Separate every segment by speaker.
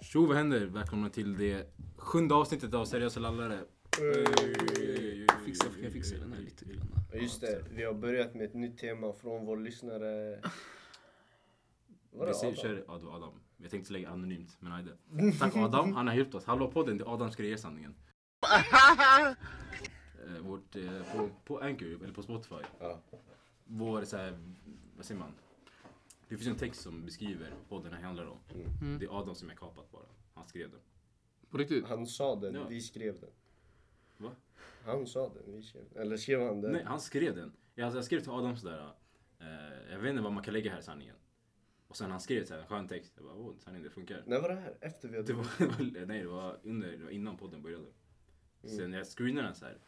Speaker 1: Tjo vad händer? Välkomna till det sjunde avsnittet av Seriösa lallare.
Speaker 2: Fixa, kan jag fixa den här lite grann?
Speaker 3: Ja, Just det, vi har börjat med ett nytt tema från vår lyssnare. Var
Speaker 1: Vi
Speaker 3: det
Speaker 1: ser,
Speaker 3: Adam?
Speaker 1: kör, ja, det var Adam. Jag tänkte lägga anonymt, men nej det. Tack Adam, han har hjälpt oss. Hallå podden, det är Adams grejer sanningen. Eh, Vårt, eh, på, på Anchor, eller på Spotify.
Speaker 3: Ja.
Speaker 1: Vår så här, vad säger man? Det finns en text som beskriver vad podden här handlar om. Det är Adam som är kapat bara. Han skrev den.
Speaker 2: På riktigt?
Speaker 3: Han sa den,
Speaker 1: Ja.
Speaker 3: vi skrev den.
Speaker 1: Va?
Speaker 3: Han sa den, vi skrev den. Eller skrev han den?
Speaker 1: Nej, han skrev den. Jag, alltså, jag skrev till Adam sådär. Eh, jag vet inte vad man kan lägga här i sanningen. Och sen han skrev så här, en skön text. Jag bara, åh, sanningen det funkar.
Speaker 3: När var det här? Efter vi
Speaker 1: Det
Speaker 3: hade...
Speaker 1: var, det var, nej, det var, under, det var innan podden började. Sen jag screenade den så här.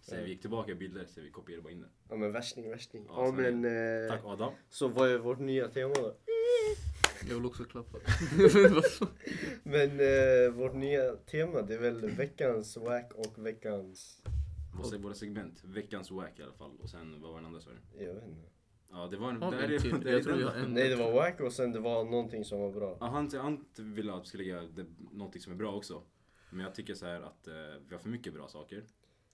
Speaker 1: Sen vi gick tillbaka bilder, sen vi kopierade bara in den.
Speaker 3: Ja men värsting, värsting.
Speaker 1: Ja,
Speaker 3: Ja,
Speaker 1: så är det.
Speaker 3: men... Eh,
Speaker 1: Tack Adam.
Speaker 3: Så vad är vårt nya tema då?
Speaker 2: Jag vill också klappa. Jag vet inte vad som-
Speaker 3: Men eh, vårt nya tema det är väl veckans wack och veckans...
Speaker 1: Våra, våra segment, veckans wack i alla fall. Och sen vad var den andra sa du?
Speaker 3: Jag vet inte.
Speaker 1: Ja, det var en...
Speaker 2: Har vi
Speaker 1: där
Speaker 2: en
Speaker 1: är-
Speaker 2: till?
Speaker 1: där är
Speaker 2: Typ, Jag tror
Speaker 1: den.
Speaker 2: jag har en.
Speaker 3: Nej det var wack och sen det var någonting som var bra.
Speaker 1: Ja, han, han ville att vi skulle lägga det, någonting som är bra också. Men jag tycker så här att eh, vi har för mycket bra saker.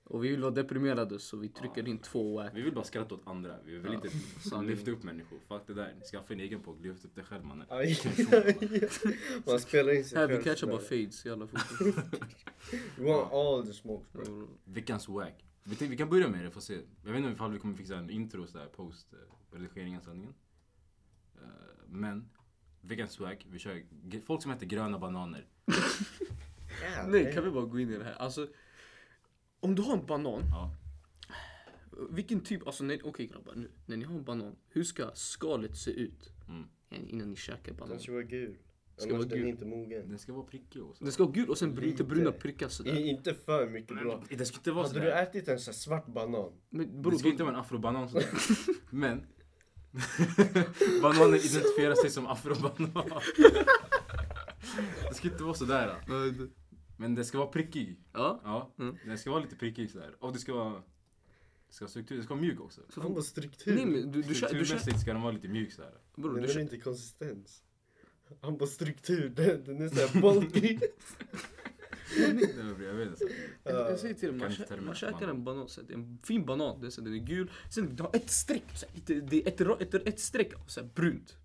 Speaker 2: Och vi vill vara deprimerade så vi trycker in två wack.
Speaker 1: Vi vill bara skratta åt andra. Vi vill
Speaker 2: Ja,
Speaker 1: inte
Speaker 2: sanning.
Speaker 1: lyfta upp människor. Fuck det där. Skaffa en egen podd. Lyft upp dig själv mannen.
Speaker 3: Aj, aj, aj. Man spelar in sig
Speaker 2: Här, vi
Speaker 3: själv
Speaker 2: catchar bara
Speaker 3: sådär.
Speaker 2: fades. Jävla fotboll.
Speaker 3: You want all the smoke bro.
Speaker 1: Veckans wack. Vi, tänkte- vi kan börja med det. Får se. Jag vet inte ifall vi kommer fixa en intro så här post eh, redigeringen av sändningen. Eh, men veckans wack. Vi kör g- folk som äter gröna bananer.
Speaker 3: Yeah,
Speaker 2: Nej, kan vi bara gå in i det här? Alltså, om du har en banan.
Speaker 1: Ja.
Speaker 2: Vilken typ, alltså nej, okej grabbar nu. När ni har en banan, hur ska skalet se ut? Eh,
Speaker 1: Mm.
Speaker 2: Innan ni käkar
Speaker 3: Den
Speaker 2: banan.
Speaker 3: ska vara gul.
Speaker 2: Ska
Speaker 3: Annars
Speaker 2: vara
Speaker 3: den är
Speaker 2: gul.
Speaker 3: inte mogen.
Speaker 1: Den ska vara prickig och så.
Speaker 2: Den ska vara gul och sen lite bruna prickar
Speaker 3: I,
Speaker 2: sådär.
Speaker 3: inte för mycket blå.
Speaker 1: Det ska inte vara
Speaker 3: Hade du
Speaker 1: sådär.
Speaker 3: ätit en sån här svart banan?
Speaker 2: Men
Speaker 1: Det
Speaker 2: bror,
Speaker 1: ska inte vara en afrobanan sådär. Men. Bananen identifierar sig som afrobanan. Det ska inte vara sådär. Då.
Speaker 2: då-
Speaker 1: Men det ska vara prickig.
Speaker 2: Ja.
Speaker 1: Ja,
Speaker 2: Mm.
Speaker 1: den ska vara lite prickig sådär. Och det ska vara... Det ska vara struktur, det ska vara mjuk också.
Speaker 2: Så
Speaker 3: Fan
Speaker 2: fan,
Speaker 3: vad struktur.
Speaker 2: nej men du, du, kör, du, kör,
Speaker 1: Strukturmässigt ska den vara lite mjuk såhär.
Speaker 2: bror,
Speaker 3: den
Speaker 2: du
Speaker 3: är
Speaker 2: kör,
Speaker 3: inte konsistens. Han bara struktur, den, den är såhär bulky.
Speaker 1: Jag vet inte.
Speaker 2: Jag, jag säger till
Speaker 1: Kan
Speaker 2: dig, man,
Speaker 1: inte
Speaker 2: kä-
Speaker 1: termerna
Speaker 2: man
Speaker 1: för
Speaker 2: käkar
Speaker 1: banan.
Speaker 2: en banan, så här, det är en fin banan, det är så här, den är gul. Sen du har ett streck, så här, lite, det är ett, ra- ett, ett streck av så här, brunt.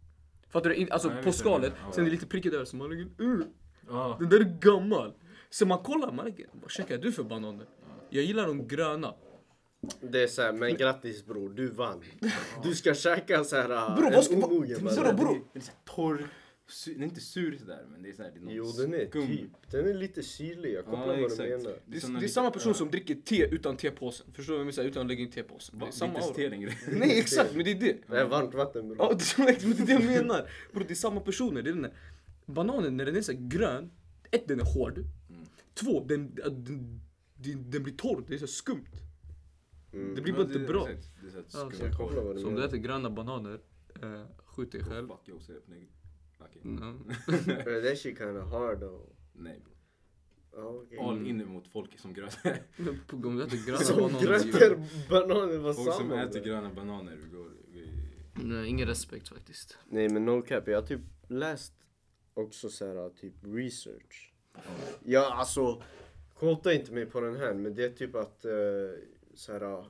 Speaker 2: Fattar du? In- Alltså
Speaker 1: Ja, jag
Speaker 2: på
Speaker 1: vet vad du menar.
Speaker 2: skalet,
Speaker 1: Ja.
Speaker 2: sen är det lite prickigt över. Så man lägger, uh,
Speaker 1: Ja,
Speaker 2: den där är gammal. Så man kollar, man lägger, vad käkar du för bananer? Jag gillar de gröna.
Speaker 3: Det är såhär, men grattis bror, du vann. Du ska käka såhär
Speaker 2: Bror, vad ska- vad- vadå, bror?
Speaker 1: Den är såhär torr. Sur, den är inte sur sådär men det är såhär... det är någon
Speaker 3: Jo den är
Speaker 1: skum.
Speaker 3: typ, den är lite syrlig, jag kopplar
Speaker 1: Ja,
Speaker 3: vad du
Speaker 1: exakt.
Speaker 3: menar.
Speaker 2: Det
Speaker 1: som
Speaker 2: är,
Speaker 1: när
Speaker 2: det är
Speaker 1: vi-
Speaker 2: samma person
Speaker 1: ja.
Speaker 2: som dricker te utan tepåsen. Förstår du vad jag menar? Så här, Utan att lägga in tepåsen. Det
Speaker 1: Va?
Speaker 2: är
Speaker 1: Det är
Speaker 2: samma
Speaker 1: inte ens
Speaker 2: aura.
Speaker 1: te längre.
Speaker 2: Nej exakt, men det är det.
Speaker 3: Det är varmt vatten
Speaker 2: Ja,
Speaker 3: bror.
Speaker 2: det är exakt- det är det jag menar. Bro, det är samma personer. Det är den där. Bananen när den är så här grön, ett den är hård. Två, den, den, den, den blir torr, det är så här skumt.
Speaker 3: Mm.
Speaker 2: Det blir bara inte bra.
Speaker 1: exakt. Det är såhär
Speaker 2: Ja,
Speaker 1: skum.
Speaker 3: Jag kopplar vad du
Speaker 2: Så om du
Speaker 3: menar.
Speaker 2: äter gröna bananer, eh, skjut dig själv.
Speaker 1: Fuck jag också. öppnar egen- Okej.
Speaker 2: Mm.
Speaker 3: Bro, that shit kinda hard though.
Speaker 1: Nej bro.
Speaker 3: Ja, okej.
Speaker 2: Mm.
Speaker 1: All in mot folk som gröter.
Speaker 2: Men på- Om du äter
Speaker 3: Som
Speaker 2: gröna bananer.
Speaker 3: grötter, bananer, vad
Speaker 1: Folk
Speaker 3: sa
Speaker 1: som
Speaker 3: man?
Speaker 1: äter
Speaker 3: bror?
Speaker 1: gröna bananer. Vi går... Vi...
Speaker 2: Nej, ingen respekt faktiskt.
Speaker 3: Nej men no cap, jag har typ läst också så här typ research. Ja alltså, kåta inte mig på den här men det är typ att eh, så här,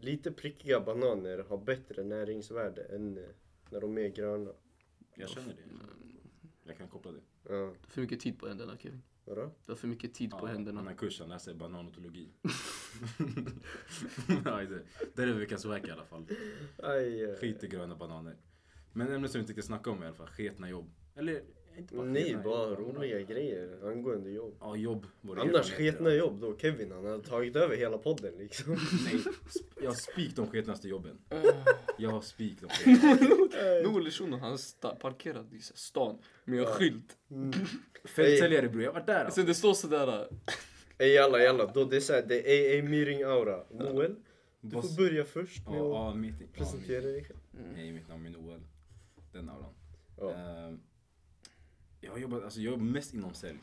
Speaker 3: lite prickiga bananer har bättre näringsvärde än eh, när de är gröna.
Speaker 1: Jag känner det. Jag kan koppla det.
Speaker 3: Ja,
Speaker 2: För mycket tid på händerna Kevin.
Speaker 3: vadå?
Speaker 2: Du har för mycket tid på
Speaker 1: Den
Speaker 2: händerna.
Speaker 1: här kursen läser bananotologi. Nej, det, det är det vi kan sväka i alla fall.
Speaker 3: Aj, eh,
Speaker 1: Skit i gröna bananer. Men ämnet som vi inte ska snacka om i alla fall, sketna jobb. Eller inte bara
Speaker 3: Nej
Speaker 1: sketna
Speaker 3: bara
Speaker 1: jobb,
Speaker 3: roliga grejer angående jobb.
Speaker 1: Ja, jobb. våra
Speaker 3: Annars
Speaker 1: erfarenheter.
Speaker 3: sketna jobb då Kevin han hade tagit över hela podden liksom.
Speaker 1: Nej, sp- jag har spik de sketnaste jobben.
Speaker 3: Ah.
Speaker 1: Jag har spik de sketnaste.
Speaker 2: Eh, Noel Shunon han sta- parkerade i så här stan med en skylt.
Speaker 3: Mm.
Speaker 1: Fältsäljare bror, jag var där alltså.
Speaker 2: Sen det står eh, sådär.
Speaker 3: Ey jalla jalla, då det är såhär, det är AA meeting aura. Noel, du
Speaker 1: Vad s-
Speaker 3: får börja först med
Speaker 1: alltså. Ja, ja,
Speaker 3: att
Speaker 1: mitt, ja, mitt-
Speaker 3: presentera dig själv.
Speaker 1: Nej, mitt namn är Noel. Den auran.
Speaker 3: Ja.
Speaker 1: Ehm, jag har jobbat, alltså jag jobbar mest inom sälj.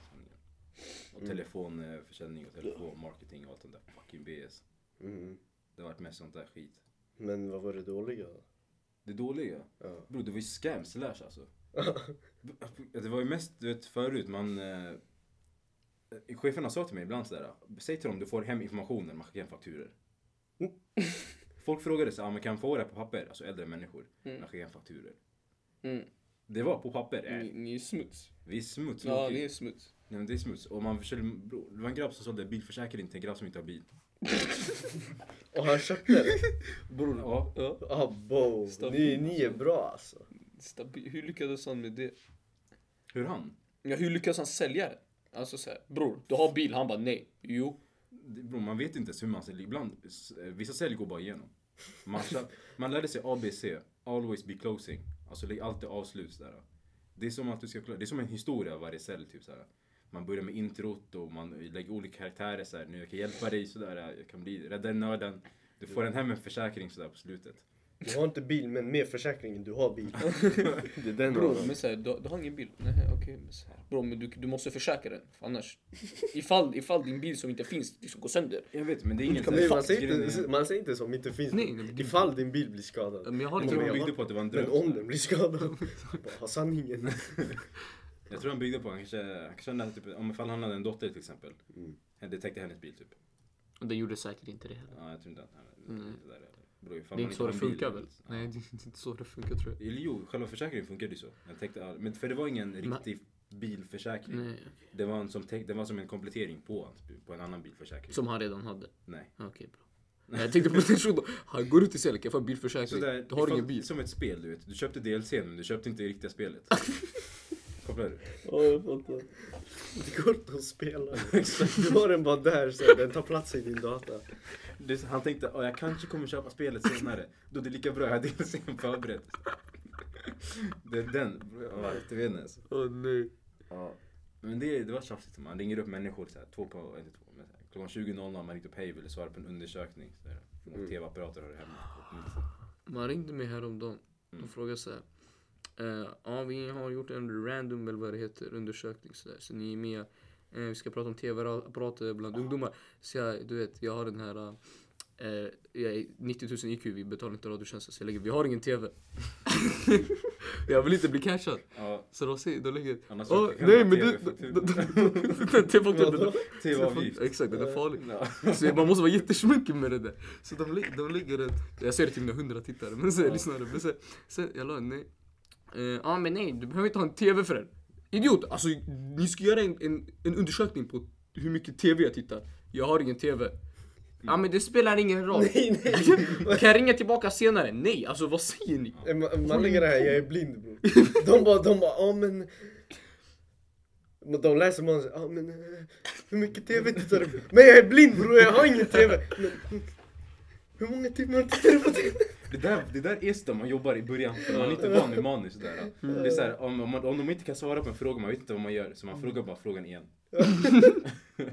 Speaker 1: Och
Speaker 3: Mm.
Speaker 1: telefonförsäljning och telefonmarketing och allt sånt där fucking BS.
Speaker 3: Mm.
Speaker 1: Det har varit mest sånt där skit.
Speaker 3: Men vad var det dåliga då?
Speaker 1: Det dåliga?
Speaker 3: Ja.
Speaker 1: Bro, det var ju scam slash alltså. Det var ju mest, du vet förut man... Eh, cheferna sa till mig ibland sådär. Säg till dem du får hem informationen, man skickar hem fakturer.
Speaker 3: Mm.
Speaker 1: Folk frågade så, ah, men kan jag få det här på papper? Alltså äldre människor.
Speaker 3: Mm.
Speaker 1: Man skickar hem fakturer.
Speaker 4: Mm.
Speaker 1: Det var på papper. Äh,
Speaker 4: Ni, ni är smuts.
Speaker 1: Vi är smuts.
Speaker 4: Ja,
Speaker 1: Loki.
Speaker 4: ni är smuts.
Speaker 1: Nej men det är smuts. Och man försökte, bro, det var en grabb som sålde bilförsäkring till en grabb som inte har bil.
Speaker 3: Och han köpte det.
Speaker 4: Bror,
Speaker 1: Ja.
Speaker 4: ja.
Speaker 3: Ah, bo. Ni, ni är bra alltså.
Speaker 4: Stabil. hur lyckades han med det?
Speaker 1: Hur han?
Speaker 4: Ja, hur lyckades han sälja det? Alltså såhär, bror, du har bil. Han bara nej. Jo.
Speaker 1: Det- Bro, man vet inte ens hur man säljer. Ibland, s- eh, vissa sälj går bara igenom. Man, köp- man lärde sig ABC, always be closing. Alltså lägg alltid avslut där. Det är som att du ska klara- det är som en historia varje sälj typ så här. Man börjar med introt och man lägger olika karaktärer så här. Nu jag kan hjälpa dig sådär, jag kan bli, rädda nörden. Du får en hem en försäkring sådär på slutet.
Speaker 3: Du har inte bil men med försäkringen du har bil. det är den
Speaker 4: Bror, men såhär, du, du har ingen bil. Nej, okej. men så här, Bror, men du, du måste försäkra den. För annars, ifall, ifall din bil som inte finns liksom går sönder.
Speaker 1: Jag vet men det är ingen
Speaker 3: Nej, man, säger
Speaker 1: grejen är-
Speaker 3: inte, man säger inte som inte finns
Speaker 4: Nej,
Speaker 3: någon.
Speaker 4: nej,
Speaker 3: Ifall din bil blir skadad.
Speaker 4: Men jag har
Speaker 1: Jag
Speaker 4: inte
Speaker 1: tror
Speaker 3: jag
Speaker 1: han
Speaker 3: har-
Speaker 1: byggde på att det var en dröm.
Speaker 3: Men om den blir skadad. Bara, sanningen.
Speaker 1: Jag tror han byggde på, han kanske, han kanske hade typ, om ifall han hade en dotter till exempel. Det täckte hennes bil typ.
Speaker 2: Det gjorde säkert inte det heller.
Speaker 1: Ja, jag tror inte att han hade det där. eller- Beror ju ifall
Speaker 2: Mm. Det är
Speaker 1: man
Speaker 2: inte så
Speaker 1: har
Speaker 2: det
Speaker 1: en bil
Speaker 2: funkar
Speaker 1: eller-
Speaker 2: väl?
Speaker 1: Ja.
Speaker 2: Nej, det är inte så det funkar tror jag.
Speaker 1: Eller Jo, själva försäkringen funkade ju så. Den täckte all... Men för det var ingen riktig bilförsäkring.
Speaker 2: Nej.
Speaker 1: Det, var en som täck... det var som en komplettering på, hans bil, på en annan bilförsäkring.
Speaker 2: Som han redan hade.
Speaker 1: Nej.
Speaker 2: Okej, bra. Nej, jag tänkte på den shunon. Han går ut i sällan, kan jag få en bilförsäkring?
Speaker 1: Sådär,
Speaker 2: Alltså, Du har
Speaker 1: ifall-
Speaker 2: ingen bil.
Speaker 1: Som ett spel du vet. Du köpte DLC men du köpte inte det riktiga spelet. Kopplar du?
Speaker 3: Ja, jag fattar. Det går inte att spela. Du har den bara där, så här, den tar plats i din data.
Speaker 1: Det är så- Han tänkte att jag kanske kommer köpa spelet senare. Då är det lika bra jag har DLCn förberett. Det är den. Ja, jag vet inte ens.
Speaker 2: Åh nej.
Speaker 1: Ja. Men det, det var tjafsigt. Man ringer upp människor så här, två på, inte två, men så här, klockan 20.00 har man ringt upp hej, vill du svara på en undersökning? Så här, för några tv-apparater har det hemma.
Speaker 2: Man ringde mig häromdagen. De frågade så här. eh, ja, vi har gjort en random, eller vad det heter, undersökning så, där. så ni är med. Eh, vi ska prata om tv-apparater bland ungdomar. Så jag, du vet, jag har den här. eh, jag är 90 000 IQ, vi betalar inte radiotjänsten. Så jag lägger, vi har ingen tv. jag vill inte bli cashad.
Speaker 1: Ja,
Speaker 2: Så de säger, de lägger.
Speaker 1: Annars
Speaker 2: "Åh,
Speaker 1: så kan
Speaker 2: nej
Speaker 1: man
Speaker 2: men du.
Speaker 1: TV-faktura."
Speaker 2: TV-fakturan.
Speaker 1: tv-avgift.
Speaker 2: Exakt, den är farlig.
Speaker 1: Ja.
Speaker 2: Så man måste vara jättesmyckig med det där. Så de, lä- de lägger det. Jag säger det till mina hundra tittare, men sen, lyssnare. Men sen, sen jag la nej. Eh, Ja men nej, du behöver inte ha en TV för det. Idiot! Alltså ni ska göra en, en, en undersökning på hur mycket TV jag tittar. Jag har ingen TV. Ja men det spelar ingen roll.
Speaker 3: Nej, nej.
Speaker 2: kan jag ringa tillbaka senare? Nej, alltså vad säger ni?
Speaker 3: Eh, Man, man lägger det här, jag är blind bror. De bara, de bara, ja men. Men de läser man ja men eh, hur mycket tv tittar du på? Men jag är blind bror, jag har ingen tv. Men, hur många timmar tittar du på tv?
Speaker 1: Det där, det där är så man jobbar i början för man är inte van vid manus. Där. Det är så här, om, om, man, om de inte kan svara på en fråga, man vet inte vad man gör. Så man frågar bara frågan igen.
Speaker 2: Åh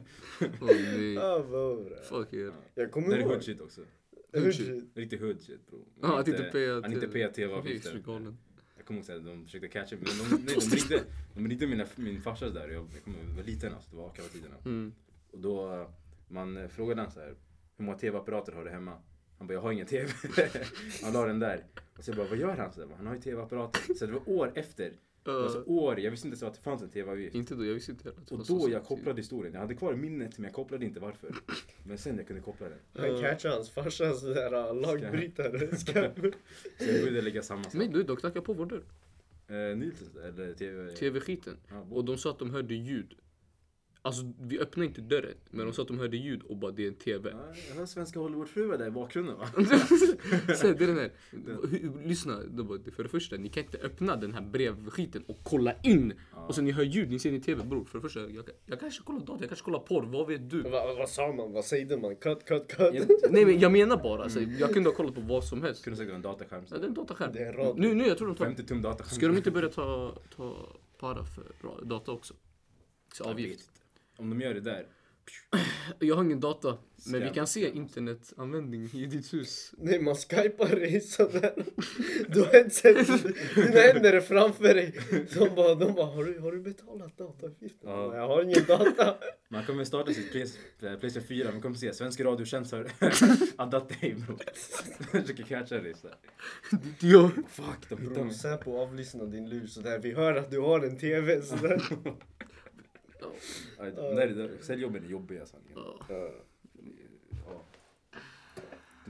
Speaker 2: nej.
Speaker 3: Ah, vad bra.
Speaker 2: Fuck er.
Speaker 3: Jag
Speaker 1: Det
Speaker 3: kommer
Speaker 1: är
Speaker 3: ihåg.
Speaker 1: hood shit också.
Speaker 3: Hur-
Speaker 1: Riktig hood shit bro.
Speaker 2: Ja, att inte peja
Speaker 1: Han inte
Speaker 2: till-
Speaker 1: pejar
Speaker 2: Vi är
Speaker 1: tv-avgiften.
Speaker 2: så galen.
Speaker 1: Jag kommer ihåg att de försökte catcha mig, men de, nej, de ringde, de ringde mina, min farsa där, jag, jag kommer ihåg, jag var liten alltså, det var akava tiderna.
Speaker 2: Mm.
Speaker 1: Och då, eh, man eh, frågade han så här, hur många tv-apparater har du hemma? Han bara, jag har ingen tv. han la den där. Och så jag bara, vad gör han? Så där, han har ju tv-apparater. Så det var år efter. Det var så år, jag visste inte så att det fanns en tv-avgift.
Speaker 2: Inte då, jag visste inte heller att det var
Speaker 1: Och
Speaker 2: Mm. så
Speaker 1: då jag
Speaker 2: sensitivt.
Speaker 1: kopplade historien. Jag hade kvar minnet men jag kopplade inte varför. Men sen jag kunde koppla den.
Speaker 3: Han catchar hans farsas där ah, lagbrytare. Ska...
Speaker 1: Så jag började lägga samma sak.
Speaker 2: Men du, de knackade på vår dörr.
Speaker 1: Eh, Nils, eller tv...
Speaker 2: TV-skiten.
Speaker 1: Ja, bo-
Speaker 2: Och de sa att de hörde ljud. Alltså vi öppnade inte dörren, men de sa att de hörde ljud och bara det är en TV.
Speaker 1: Ja, jag har svenska Hollywoodfruar där i bakgrunden va?
Speaker 2: Så det är den här. hur- Lyssna, de bara, för det första ni kan inte öppna den här brevskiten och kolla in. Och sen ni hör ljud, ni ser ni TV bror. För det första, jag, jag kanske kollar dator, jag kanske kollar porr, vad vet du?
Speaker 3: Vad vad sa man? Vad sägde man? Cut, cut, cut.
Speaker 2: Nej men jag menar bara, alltså, jag kunde ha kollat på vad som helst.
Speaker 1: Kunde säkert vara en dataskärm.
Speaker 2: Ja, det är en dataskärm.
Speaker 3: Mm. Det är en radio.
Speaker 2: Nu, nu, jag tror de tar...
Speaker 1: 50 tum dataskärm.
Speaker 2: Ska de inte börja ta, ta para för ra- data också? Så
Speaker 1: Jag
Speaker 2: avgift.
Speaker 1: vet inte. Om de gör det där,
Speaker 2: Jag har ingen data, men vi
Speaker 1: Scam,
Speaker 2: kan se
Speaker 1: scam.
Speaker 2: internetanvändning i ditt hus.
Speaker 3: Nej man skypar dig sådär. Du har headset, dina händer är framför dig. De bara, de bara har, du, har du betalat dataavgiften?
Speaker 1: Ja.
Speaker 3: Nej jag har ingen data.
Speaker 1: Man kommer starta sitt Plays- eh, Playstation 4, man kommer se svensk radiotjänst har addat dig bror. Försöker catcha dig sådär.
Speaker 2: Ja.
Speaker 1: Fuck, de hittar
Speaker 3: Bror
Speaker 1: mig.
Speaker 3: Säpo avlyssnar din lur sådär. Vi hör att du har en TV sådär.
Speaker 1: Aj då. Men där är det- Säljjobben är jobbiga sanningen. Ja. Det är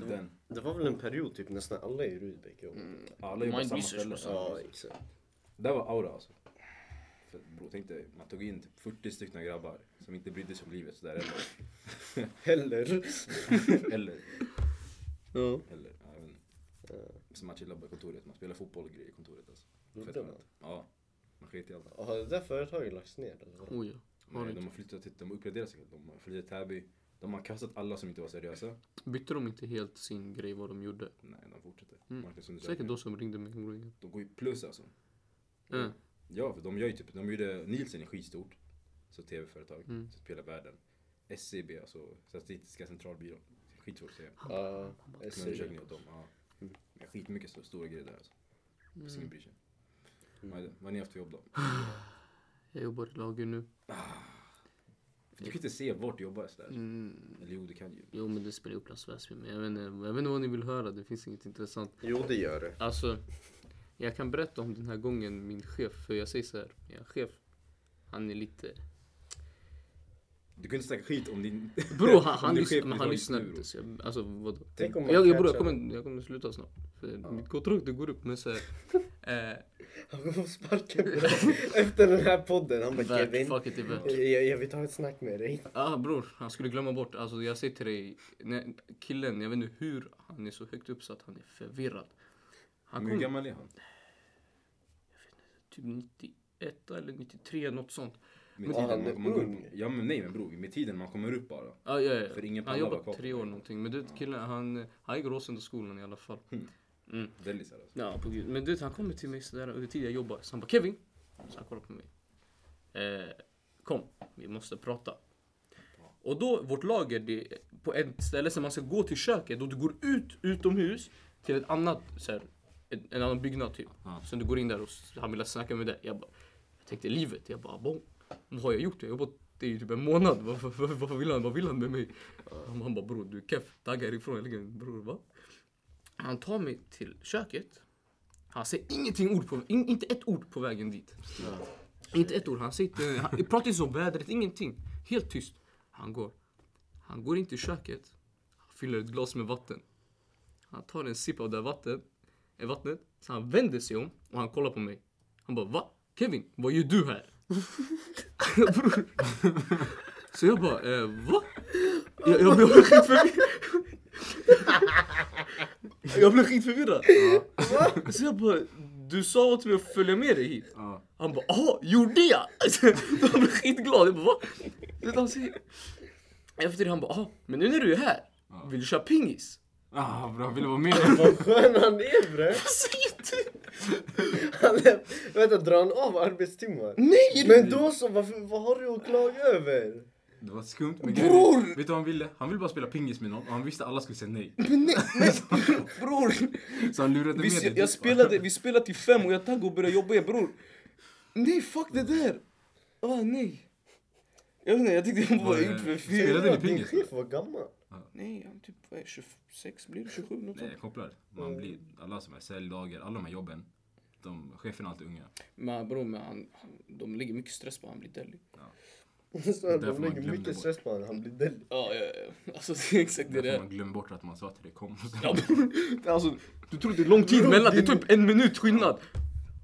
Speaker 1: Den.
Speaker 3: Det var väl en period typ nästan alla i Rudbeck jobbade.
Speaker 1: Alla jobbar på
Speaker 2: Mind
Speaker 1: samma
Speaker 2: research
Speaker 1: ställe.
Speaker 2: på
Speaker 3: Ja exakt.
Speaker 1: Det var aura alltså. För, bro, tänk dig, man tog in typ 40 stycken grabbar som inte brydde sig om livet sådär eller.
Speaker 3: Heller.
Speaker 1: eller,
Speaker 2: Ja.
Speaker 1: eller ja, jag vet inte.
Speaker 2: Eh.
Speaker 1: Så man chillar på kontoret, man spelar fotboll och grejer i kontoret alltså. Fett
Speaker 3: Gjorde man?
Speaker 1: skönt. Ja, man sket i allt.
Speaker 3: Har det där företaget lagts ner? eller vad?
Speaker 2: Oh, ja. Har
Speaker 1: Nej,
Speaker 2: inte.
Speaker 1: de har flyttat till, de har uppgraderat sig. De har flyttat till Täby. De har kastat alla som inte var seriösa.
Speaker 2: Bytte de inte helt sin grej vad de gjorde?
Speaker 1: Nej, de fortsätter.
Speaker 2: Mm.
Speaker 1: Marknadsundersökningar.
Speaker 2: Säkert de som ringde mig. Mm.
Speaker 1: De går ju plus alltså. Ja, för de gör ju typ, de gjorde Nielsen är skitstort. Så tv-företag,
Speaker 2: Mm.
Speaker 1: så spelar världen. SCB, alltså Statistiska centralbyrån. Skitsvårt att säga.
Speaker 2: Ah,
Speaker 3: Ja, jag
Speaker 1: Men
Speaker 3: ser det.
Speaker 1: undersökning åt dem,
Speaker 2: Mm.
Speaker 1: ja. Men skitmycket så, stora grejer där alltså. Mm. Ingen bryr sig.
Speaker 2: Mm.
Speaker 1: Vad är det? Vad har ni haft för jobb då?
Speaker 2: Jag jobbar i lager nu.
Speaker 1: För du kan inte se vart du jobbar sådär.
Speaker 2: Mm.
Speaker 1: Eller jo, du kan ju.
Speaker 2: Jo men det spelar Upplands Väsby men jag vet, inte, jag vet inte vad ni vill höra, det finns inget intressant.
Speaker 3: Jo det gör det.
Speaker 2: Alltså, jag kan berätta om den här gången min chef, för jag säger så här, min chef, han är lite...
Speaker 1: Du kunde inte snacka skit om din...
Speaker 2: Bro,
Speaker 1: om
Speaker 2: han, han,
Speaker 1: din
Speaker 2: lys-
Speaker 1: chef
Speaker 2: men
Speaker 1: i
Speaker 2: han
Speaker 1: dag
Speaker 2: lyssnar
Speaker 1: nu,
Speaker 2: inte.
Speaker 1: bro.
Speaker 2: Så jag, alltså vadå?
Speaker 3: Tänk om man
Speaker 2: Jag, jag, bro, jag,
Speaker 3: catchar-
Speaker 2: kommer, jag kommer sluta snart. För mitt kontrakt det går upp men så här, eh,
Speaker 3: Han kommer få sparken direkt efter den här podden. Han bara
Speaker 2: värt,
Speaker 3: Kevin,
Speaker 2: fuck it, det är värt.
Speaker 3: jag, jag vill ta ett snack med dig.
Speaker 2: Ah bror, han skulle glömma bort. Alltså jag säger till dig, när, killen, jag vet inte hur han är så högt uppsatt, han är förvirrad. Han
Speaker 1: Men
Speaker 2: kom
Speaker 1: Hur gammal är han?
Speaker 2: typ 91 eller 93, något sånt.
Speaker 1: Med
Speaker 3: Ja,
Speaker 1: tiden
Speaker 3: han är
Speaker 1: man, man går
Speaker 3: ung.
Speaker 1: upp, ja men nej men bror, med tiden man kommer upp bara.
Speaker 2: Ja, ja, ja.
Speaker 1: För ingen
Speaker 2: han
Speaker 1: pallar
Speaker 2: jobbat
Speaker 1: vara kvar.
Speaker 2: tre år någonting. Men du vet killen, han, han gick Råsundaskolan i alla fall.
Speaker 1: Dellisar alltså.
Speaker 2: Ja, på gud. Men du vet, han kommer till mig sådär under tiden jag jobbar. Så han bara Kevin. Så han kollar på mig. Eh, kom, vi måste prata. Och då, vårt lager, det är på ett ställe som man ska gå till köket och du går ut utomhus till ett annat, så här, en, en annan byggnad typ.
Speaker 1: Ja.
Speaker 2: Så du går in där och s- han vill snacka med dig. Jag bara, jag tänkte livet. Jag bara, bon, vad har jag gjort? Jag har jobbat det i typ en månad. Vad, vad, vad, vad, vill han, vad vill han med mig? Han, han bara, bror du är keff. Tagga härifrån. Jag ligger, bror va? Han tar mig till köket. Han säger ingenting ord på, in, inte ett ord på vägen dit. Inte ett ord. Han, sitter, han pratar inte om vädret, ingenting. Helt tyst. Han går. Han går in till köket. Han fyller ett glas med vatten. Han tar en sipp av det här vatten, eh, vattnet. Så han vänder sig om och han kollar på mig. Han bara va? Kevin, vad gör du här? Bror. Så jag bara eh, va? Jag, jag blev skitförvirrad. jag blev skitförvirrad. Så jag bara du sa åt mig att följa med dig hit.
Speaker 1: Ja.
Speaker 2: Han bara ah, gjorde jag? Alltså, han blev skitglad. Jag bara va? Du vet, han säger- Efter det han bara ah, men nu när du är här, vill du köra pingis?
Speaker 1: Ah bra, vill du vara med?
Speaker 3: Vad skön han är bre.
Speaker 2: Säg inte!
Speaker 3: Han är, vänta, drar han av arbetstimmar?
Speaker 2: Nej!
Speaker 3: Men då så, varför, vad har du att klaga över?
Speaker 1: Det var skumt men
Speaker 2: Bror!
Speaker 1: grejen är- Vet du vad han ville? Han ville bara spela pingis med någon och han visste att alla skulle säga nej.
Speaker 2: Bror!
Speaker 1: Så han lurade typ.
Speaker 2: Vi,
Speaker 1: med dig
Speaker 2: se-
Speaker 1: dit, va?
Speaker 2: jag spelade, vi spelade till fem och jag taggade och började jobba igen bror. Nej fuck det där! Åh nej. Jag vet inte, jag tyckte jag
Speaker 1: Vad
Speaker 2: bara
Speaker 1: är-
Speaker 2: gjort för
Speaker 1: Spelade
Speaker 2: fel.
Speaker 1: ni
Speaker 3: Jävlar,
Speaker 1: pingis,
Speaker 3: Din chef var gammal.
Speaker 2: Nej, han typ vad är, 26, blir det 27 något
Speaker 1: Nej
Speaker 2: sånt.
Speaker 1: jag kopplar. Man blir, alla som är säljlager, alla de här jobben. De, cheferna är alltid unga.
Speaker 2: Men bror, men han, han, de lägger mycket stress på han blir deli.
Speaker 3: Så han
Speaker 1: Därför
Speaker 3: de
Speaker 1: man
Speaker 3: lägger
Speaker 1: glömde
Speaker 3: mycket
Speaker 1: bort.
Speaker 3: stress på honom, han blir deli.
Speaker 2: Ja, ja, ja. Alltså det är exakt det det
Speaker 1: Därför
Speaker 2: är.
Speaker 1: man glömmer bort att man sa till det kom.
Speaker 2: Ja, bror. Alltså, du tror det är lång tid mellan, det är typ en minut skillnad.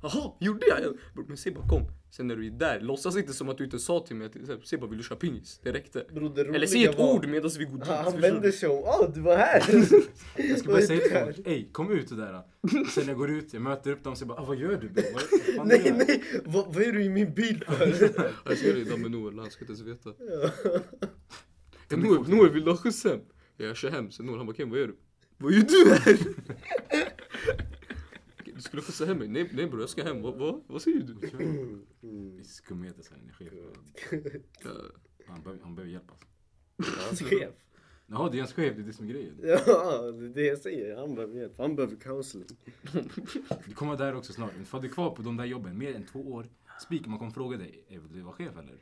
Speaker 2: Jaha, gjorde jag? Bror, men säg bara kom. Sen när du är där, låtsas inte som att du inte sa till mig att så här, säg bara vill du köra pingis? Det räckte.
Speaker 3: Bro, det
Speaker 2: Eller
Speaker 3: roliga
Speaker 2: säg ett
Speaker 3: var-
Speaker 2: ord medan vi går dit.
Speaker 3: Han, han
Speaker 2: förstår du?
Speaker 3: vände sig om, åh du var här!
Speaker 1: Jag ska
Speaker 3: Vad
Speaker 1: bara
Speaker 3: är
Speaker 1: säga
Speaker 3: det
Speaker 1: till
Speaker 3: här?
Speaker 1: folk, ey kom ut det där. Sen jag går ut, jag möter upp dem och säger bara ah, vad gör du bro? Vad, vad fan
Speaker 3: nej
Speaker 1: gör du?"
Speaker 3: nej, vad, vad är du i min bil för?
Speaker 2: Jag ser dig idag med Noel, han ska inte ens veta. Ja, Noel, Noel vill du ha skjuts hem? Ja, jag kör hem. Sen Noel han bara Ken vad gör du? Vad gör du här? Du skulle skjutsa hem mig? Nej, nej bror jag ska hem. Vad, vad, vad säger du?
Speaker 3: Mm,
Speaker 1: Det är Skumheter sen, chefen.
Speaker 2: Ja,
Speaker 1: Han behöver, han behöver hjälp alltså.
Speaker 3: Hans chef.
Speaker 1: Jaha, det är hans chef, det är det som är grejen.
Speaker 3: Ja, det är det jag säger. Han behöver hjälp. Han behöver counseling.
Speaker 1: Du kommer där också snart. Ifall du är kvar på de där jobben mer än två år, spik, man kommer fråga dig, "Eh, vill du vara chef eller?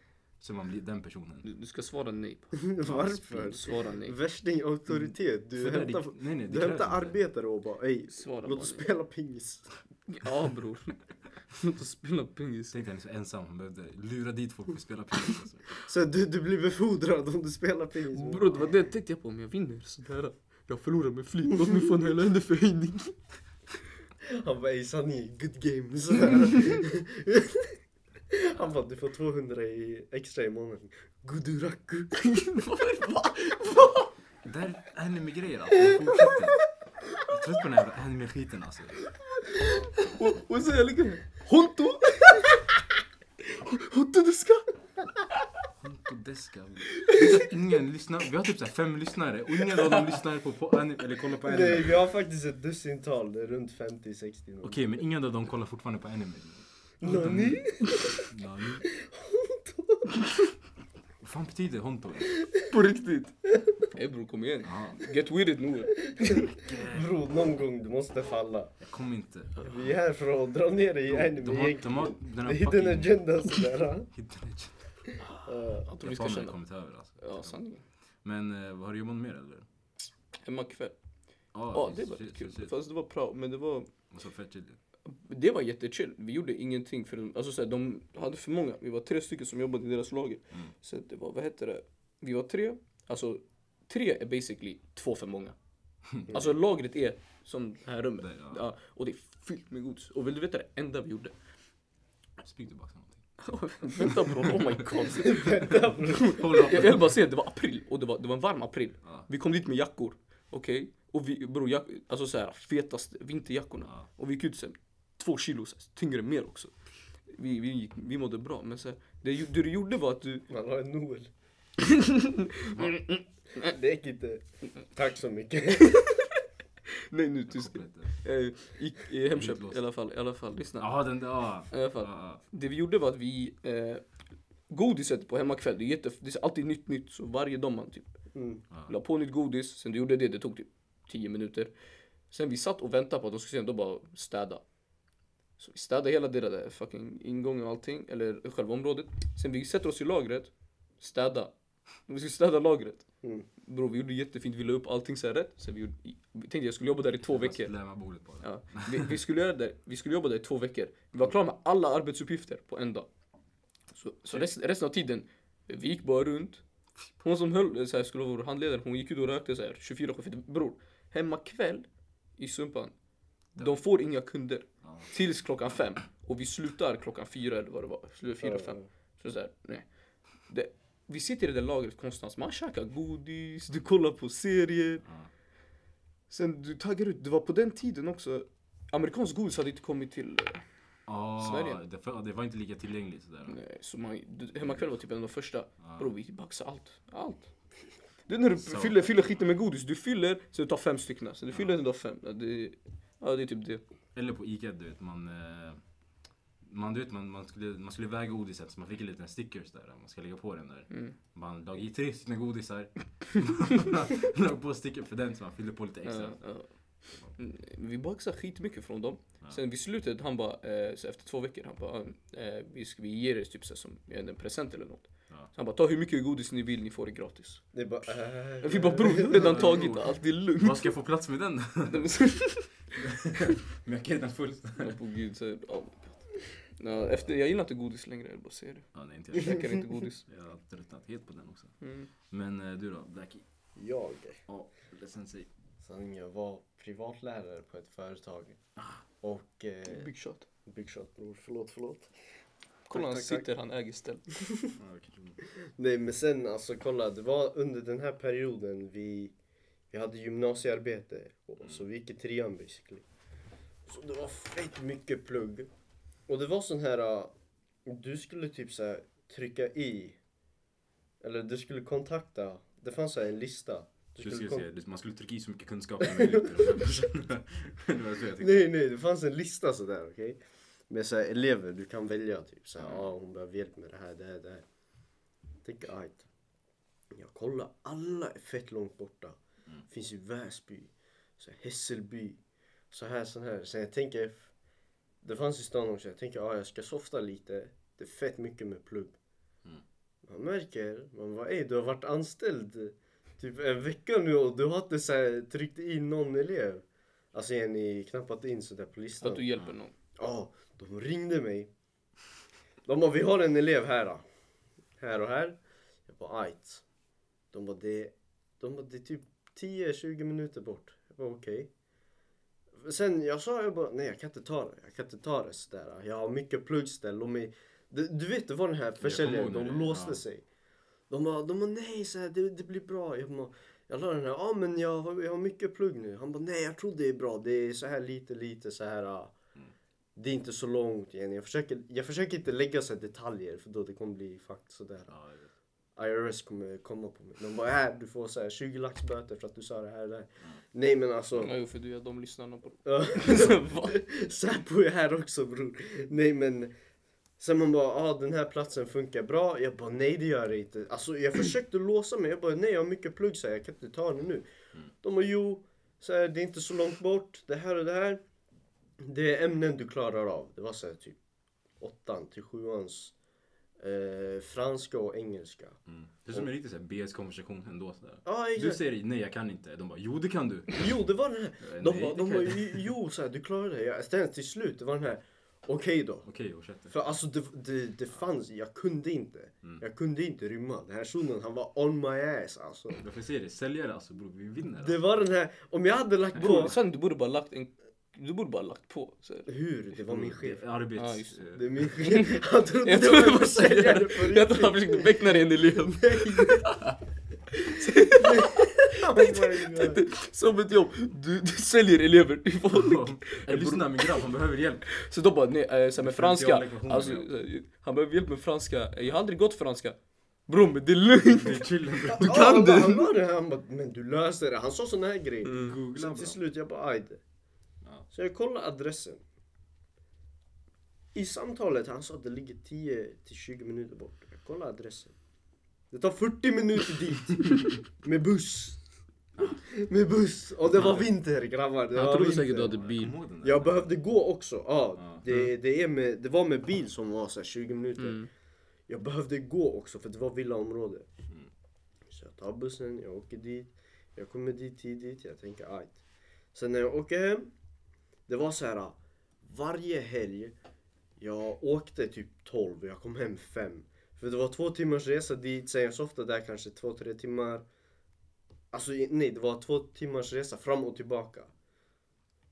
Speaker 1: Så man blir den personen.
Speaker 2: Du, du ska svara nej. på-
Speaker 3: Varför?
Speaker 2: Du Svara nej.
Speaker 3: Värsting auktoritet. Du
Speaker 1: För där, det-
Speaker 3: hämtar,
Speaker 1: nej, nej, det
Speaker 3: du
Speaker 1: krävs
Speaker 3: hämtar
Speaker 1: inte.
Speaker 3: arbetare och bara ey,
Speaker 2: Svara
Speaker 3: låt
Speaker 2: bara
Speaker 3: oss
Speaker 2: nej.
Speaker 3: spela pingis.
Speaker 2: Ja bror. Låt oss spela pingis.
Speaker 1: Tänk dig han är så ensam, han behövde lura dit folk för att spela pingis. Alltså.
Speaker 3: Så du, du blir befordrad om du spelar pingis.
Speaker 2: Bror det var det jag tänkte jag på, om jag vinner sådär. Jag förlorar med flit, låt mig få en hel förhöjning.
Speaker 3: Han bara ey sanning, good game. Sådär. Han bara du får 200 i, extra i månaden. Guduraku.
Speaker 1: Där, anime-grejer alltså. Jag fortsätter. Jag är trött på den här jävla anime-skiten alltså.
Speaker 4: Och så jag ligger Honto! Honto du ska!
Speaker 1: Hontodeska. Vet du att Ingen lyssnar, vi har typ så här fem lyssnare och ingen av dem lyssnar på, på anime, eller kollar på anime.
Speaker 3: Nej
Speaker 1: Okej,
Speaker 3: vi har faktiskt ett dussintal, det är runt 50-60 någon.
Speaker 1: men ingen av dem kollar fortfarande på anime.
Speaker 3: Nani?
Speaker 1: Nani? Vad fan betyder honto?
Speaker 4: På riktigt.
Speaker 2: Ey bror kom igen.
Speaker 1: Ja,
Speaker 2: Get with it nu.
Speaker 3: Bro, någon gång du måste falla.
Speaker 1: jag kommer inte.
Speaker 3: Vi är här för att dra ner dig i
Speaker 1: De,
Speaker 3: anime
Speaker 1: de har, de har den här
Speaker 3: Hidden
Speaker 1: fucking...
Speaker 3: agenda sådär.
Speaker 1: Hidden agenda.
Speaker 3: Eh,
Speaker 2: Jag tror vi ska
Speaker 1: Japaner har
Speaker 2: känna.
Speaker 1: kommit över alltså.
Speaker 2: Ja sanningen.
Speaker 1: Men eh, vad har du jobbat med mer eller?
Speaker 2: Hemma kväll.
Speaker 1: Ja,
Speaker 2: Ja det
Speaker 1: shit,
Speaker 2: var
Speaker 1: shit,
Speaker 2: rätt kul.
Speaker 1: shit.
Speaker 2: Fast det var prao, men det var
Speaker 1: Och så fett chili.
Speaker 2: Det var jättechill. Vi gjorde ingenting för alltså, så här, de hade för många. Vi var tre stycken som jobbade i deras lager.
Speaker 1: Mm.
Speaker 2: Så det var, vad heter det? Vi var tre. Alltså tre är basically två för många. Alltså lagret är som det här rummet.
Speaker 1: Där, ja.
Speaker 2: ja. och det är fyllt med godis. Och vill du veta det enda vi gjorde?
Speaker 1: Spyr du bara någonting?
Speaker 2: Vänta bror, oh my god.
Speaker 1: Håll upp.
Speaker 2: Jag jag vill bara säga att det var april och det var, det var en varm april.
Speaker 1: Ja.
Speaker 2: Vi kom dit med jackor. Okej? Och vi, bror, jack, alltså så här fetaste vinterjackorna.
Speaker 1: Ja.
Speaker 2: Och vi gick ut sen, två kilo så här, tyngre mer också. Vi, vi, gick, vi mådde bra men så här, det, ju- det du gjorde var att du...
Speaker 3: Man har en Noel. Det gick inte. Tack så mycket.
Speaker 2: Nej nu tyst.
Speaker 1: Koppla inte.
Speaker 2: Eh, gick i Hemköp
Speaker 1: Utlåst.
Speaker 2: i alla fall, i alla fall. Lyssna.
Speaker 1: Jaha den där, ja.
Speaker 2: I alla
Speaker 1: Ja,
Speaker 2: fall.
Speaker 1: ja.
Speaker 2: Det vi gjorde var att vi... Eh, godiset på hemmakväll, det är, jätte, det är alltid nytt nytt så varje dag man typ
Speaker 3: Mm.
Speaker 1: Ja.
Speaker 2: La på nytt godis, sen du gjorde det, det tog typ 10 minuter. Sen vi satt och väntade på att de skulle ändå bara städa. Så vi städade hela det där fucking ingången och allting, eller själva området. Sen vi sätter oss i lagret, städa. Vi skulle städa lagret.
Speaker 3: Mm.
Speaker 2: Bror vi gjorde jättefint, vi la upp allting så här rätt. Sen vi, gjorde, vi tänkte jag skulle jobba där i två
Speaker 1: Jag bara
Speaker 2: veckor.
Speaker 1: slamma bordet bara.
Speaker 2: Ja. Vi, vi, skulle göra det, vi skulle jobba där i två veckor. Vi var klara med alla arbetsuppgifter på en dag. Så, så resten, resten av tiden, vi gick bara runt. Hon som höll, så här, skulle vara vår handledare, hon gick ut och rökte så här 24 för bror, hemma kväll i Sumpan, de får inga kunder.
Speaker 1: Ja.
Speaker 2: Tills klockan fem. Och vi slutar klockan fyra eller vad det var. Slutar fyra, fem. Så, så här, nej. Det, vi sitter i det lagret konstant, man käkar godis, du kollar på serier.
Speaker 1: Ja.
Speaker 2: Sen du taggar ut, det var på den tiden också Amerikansk godis hade inte kommit till eh,
Speaker 1: Ah,
Speaker 2: Sverige.
Speaker 1: Det, för, det var inte lika tillgängligt sådär.
Speaker 2: nej, så man, du- Hemmakväll var typ en av de första
Speaker 1: Ja.
Speaker 2: Bror vi baxade allt, allt Det är när du
Speaker 1: Så.
Speaker 2: fyller, fyller skiten med godis, du fyller så du tar fem stycken Sen du fyller sen du tar fem ja, det, ja det är typ det
Speaker 1: Eller på Ica du vet man... eh, Man, du vet, man, man, skulle, man skulle väga godiset så man fick en liten stickers där man ska lägga på den där.
Speaker 2: Mm.
Speaker 1: Man la i tre stycken godisar. la på stickers för den så man fyllde på lite extra.
Speaker 2: Ja, ja. Mm, Vi baxade skitmycket från dem
Speaker 1: Ja.
Speaker 2: Sen vid slutet, han bara, eh, så efter två veckor, han bara eh, vi, ska, vi ger er typ så här som en present eller något
Speaker 1: Ja.
Speaker 2: Så Han bara, ta hur mycket godis ni vill, ni får det gratis
Speaker 3: Det är bara... äh.
Speaker 2: Vi bara bror, vi har redan tagit allt, det är lugnt
Speaker 1: Vad ska jag få plats med den?
Speaker 2: Nej, men så-
Speaker 1: Men jag kan redan fullt.
Speaker 2: Ja, på gud så, ja. Ja, efter, jag gillar inte godis längre, jag bara säger det.
Speaker 1: Ja, nej, inte
Speaker 2: Jag
Speaker 1: jag.
Speaker 2: käkar inte godis.
Speaker 1: Jag har tröttnat helt på den också.
Speaker 2: Mm.
Speaker 1: Men eh, du då, Blackie?
Speaker 3: Jag?
Speaker 1: Ja, ledsen säg.
Speaker 3: Sanning, jag var privatlärare på ett företag. Och... Eh,
Speaker 2: Big shot.
Speaker 3: Big shot bror, förlåt förlåt.
Speaker 2: Kolla
Speaker 3: Tack,
Speaker 2: han
Speaker 3: tack,
Speaker 2: sitter, han äger stället.
Speaker 3: Nej men sen alltså kolla, det var under den här perioden vi, vi hade gymnasiearbete. Och, Så vi gick i trean basically. Så det var fett mycket plugg. Och det var sån här, äh, du skulle typ så här, trycka i. Eller du skulle kontakta, det fanns så här en lista. Du
Speaker 1: Du skulle
Speaker 3: kon-
Speaker 1: säga, du- man skulle trycka i så mycket kunskap som möjligt till de här personerna. Det var så jag tänkte.
Speaker 3: Nej nej, det fanns en lista sådär okej. Med såhär elever du kan välja typ såhär, ja ah, hon behöver hjälp med det här, det här, det här. Tänk ajt. Jag kollar, alla är fett långt borta. Finns i Väsby, så här Hässelby, så här, så här. Så jag tänker, det fanns i stan också, jag tänker ah, jag ska softa lite. Det är fett mycket med plugg. Man märker, man bara ey du har varit anställd typ en vecka nu och du har inte så här, tryckt in någon elev. Alltså är ni knappat in sådär på listan?
Speaker 2: Att du hjälper någon.
Speaker 3: Ja, de ringde mig. De bara, vi har en elev här. Då. Här och här. Jag bara, ajt. De bara, det, de bara, det är typ 10-20 minuter bort. Jag bara, okej. Sen jag sa, jag bara, nej jag kan inte ta det. Jag kan inte ta det sådär. Jag har mycket pluggställ. Låt mig... du, du vet, det var den här försäljaren,
Speaker 1: ihåg
Speaker 3: de
Speaker 1: när det-
Speaker 3: låste
Speaker 1: ja.
Speaker 3: sig. De bara, de bara nej, så här, det, det blir bra. Jag, bara, jag la den här, ja men jag har, jag har mycket plugg nu. Han bara, nej jag tror det är bra. Det är så här lite, lite så här. ah. Det är inte så långt igen. Jag försöker, jag försöker inte lägga så här detaljer för då det kommer bli fakt sådär.
Speaker 1: Ja, jag vet.
Speaker 3: IRS kommer komma på mig. De bara, här du får så här 20 lax böter för att du sa det här och det här. Nej men alltså.
Speaker 2: Ja, jo, för du är de lyssnarna på
Speaker 3: Ja.
Speaker 2: Va?
Speaker 3: Säpo är här också bror. Nej men. Sen man bara, ah, den här platsen funkar bra. Jag bara, nej det gör det inte. Alltså jag försökte låsa mig. Jag bara, nej jag har mycket plugg så här, jag kan inte ta det nu.
Speaker 1: Mm.
Speaker 3: De bara, jo. Så här, det är inte så långt bort. Det här och det här. Det är ämnen du klarar av. Det var så här typ åttan till sjuans. Eh, franska och engelska.
Speaker 1: Mm. Det är som en riktig så här BS-konversation ändå. Så där.
Speaker 3: Ja
Speaker 1: Du
Speaker 3: exakt.
Speaker 1: säger nej jag kan inte. De bara jo det kan du.
Speaker 3: Jo, det var den här.
Speaker 1: Eh,
Speaker 3: De,
Speaker 1: nej,
Speaker 3: bara,
Speaker 1: det kan
Speaker 3: de bara,
Speaker 1: jag
Speaker 3: "Jo, jo, så här, du klarade det. Ja, Sen till slut, det var den här, okej då.
Speaker 1: Okej och chatten.
Speaker 3: För alltså det, det, det fanns, jag kunde inte. Jag kunde inte rymma. Den här sonen, han var on my ass alltså.
Speaker 1: Varför säger det? Säljare alltså bror vi vinner.
Speaker 3: Det
Speaker 1: Alltså.
Speaker 3: var den här, om jag hade lagt
Speaker 2: Bror,
Speaker 3: på.
Speaker 2: sen du borde bara lagt en... Du borde bara lagt på. Så här.
Speaker 3: Hur? Det var min chef.
Speaker 1: Det är Arbets...
Speaker 2: Ja, just
Speaker 1: eh,
Speaker 3: Det är min chef. Han trodde
Speaker 2: Jag
Speaker 3: det
Speaker 2: tror det
Speaker 3: var
Speaker 2: var
Speaker 3: en säljare på
Speaker 2: säljaren. Jag tror han
Speaker 3: riktigt.
Speaker 2: försökte beckna dig en elev.
Speaker 3: Oh my God.
Speaker 2: Som ett jobb. Du, du säljer elever till folk.
Speaker 1: Ey, Lyssna min grabb, han behöver hjälp.
Speaker 2: Så de bara, nej, eh, så här med franska.
Speaker 1: lektioner,
Speaker 2: Alltså,
Speaker 1: ja.
Speaker 2: eh, han behöver hjälp med franska. Eh, Jag har aldrig gått franska. Bror, men det är lugnt.
Speaker 1: Det är chillen bror.
Speaker 3: Du
Speaker 2: kan
Speaker 3: han, bara,
Speaker 2: det.
Speaker 3: han var det här, han bara, men du löser det. Han sa sån här grej.
Speaker 1: Googla
Speaker 3: Mm. Så
Speaker 1: bra.
Speaker 3: till slut jag bara aj det.
Speaker 1: Ja.
Speaker 3: Så jag kollar adressen. I samtalet han sa att det ligger 10 till 20 minuter bort. Jag kollar adressen. Det tar 40 minuter dit. med buss. Med buss. Och det var vinter grabbar. Det var
Speaker 2: Han trodde
Speaker 3: vinter.
Speaker 2: säkert du hade
Speaker 1: Jag
Speaker 2: bil.
Speaker 1: kommer ihåg den där.
Speaker 3: Jag behövde gå också. Ja,
Speaker 1: Ja.
Speaker 3: det, det, är med, det var med bil som var så här 20 minuter.
Speaker 2: Mm.
Speaker 3: Jag behövde gå också för det var villaområde. Så jag tar bussen, jag åker dit. Jag kommer dit tidigt, jag tänker ajt. Sen när jag åker hem, det var så här. Varje helg, jag åkte typ 12 och jag kom hem 5. För det var två timmars resa dit, sen jag softade där kanske 2-3 timmar. Alltså i- nej, det var två timmars resa fram och tillbaka.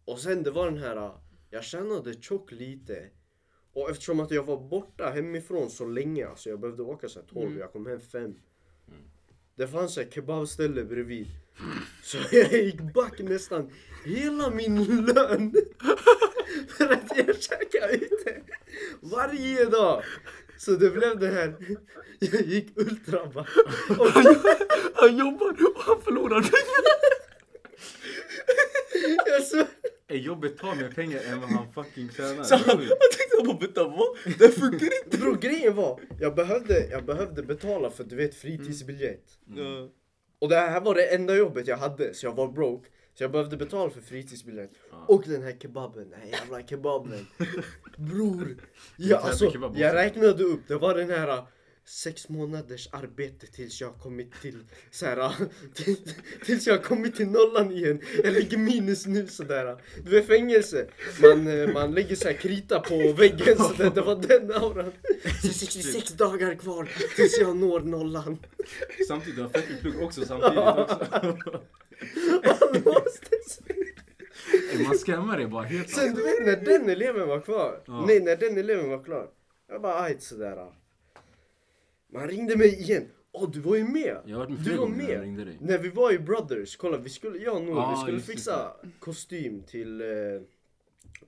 Speaker 3: Och sen det var den här, jag tjänade tjockt lite. Och eftersom att jag var borta hemifrån så länge, alltså jag behövde åka så här 12, jag kom hem 5. Det fanns ett kebabställe bredvid. Så jag gick back nästan hela min lön. För att jag käkade ute varje dag. Så det blev det här, jag gick ultraback. Och
Speaker 2: Han jobbar och han förlorar pengar.
Speaker 3: jag så,
Speaker 1: Ey, jobbet tar mer pengar än vad han fucking tjänar.
Speaker 2: Så han,
Speaker 1: Det
Speaker 2: han
Speaker 1: är sjukt.
Speaker 2: tänkte han bara, vänta vad? Det funkar inte.
Speaker 3: bro, grejen var, jag behövde, jag behövde betala för du vet fritidsbiljett.
Speaker 2: Ja.
Speaker 3: Och det här var det enda jobbet jag hade, så jag var broke. Så jag behövde betala för fritidsbiljett.
Speaker 1: Ja.
Speaker 3: Och den här kebaben, den här jävla kebaben. Bror! Jag,
Speaker 1: här
Speaker 3: alltså,
Speaker 1: med kebab
Speaker 3: jag
Speaker 1: också.
Speaker 3: räknade upp, det var den här äh, sex månaders arbete tills jag kommit till så här, äh, till, tills jag kommit till nollan igen. Jag ligger minus nu sådär. äh. Du vet fängelse, man, äh, man lägger så här krita på väggen sådär. Det var den auran. Så 66 dagar kvar tills jag når nollan.
Speaker 1: Samtidigt, du har fucking plugg också samtidigt också.
Speaker 3: Man måste
Speaker 1: Ey, Man scammar dig bara helt.
Speaker 3: Sen
Speaker 1: Alltså.
Speaker 3: du vet när den eleven var klar.
Speaker 1: Ja.
Speaker 3: Nej, när den eleven var klar. Jag bara ajt sådär. Man ringde mig igen. Åh, du var ju med.
Speaker 1: Jag har varit med
Speaker 3: du
Speaker 1: flera
Speaker 3: var
Speaker 1: gånger när jag
Speaker 3: med.
Speaker 1: ringde dig.
Speaker 3: När vi var i Brothers, kolla vi skulle, jag och Nour,
Speaker 1: Ja,
Speaker 3: vi skulle
Speaker 1: just det.
Speaker 3: fixa kostym till eh,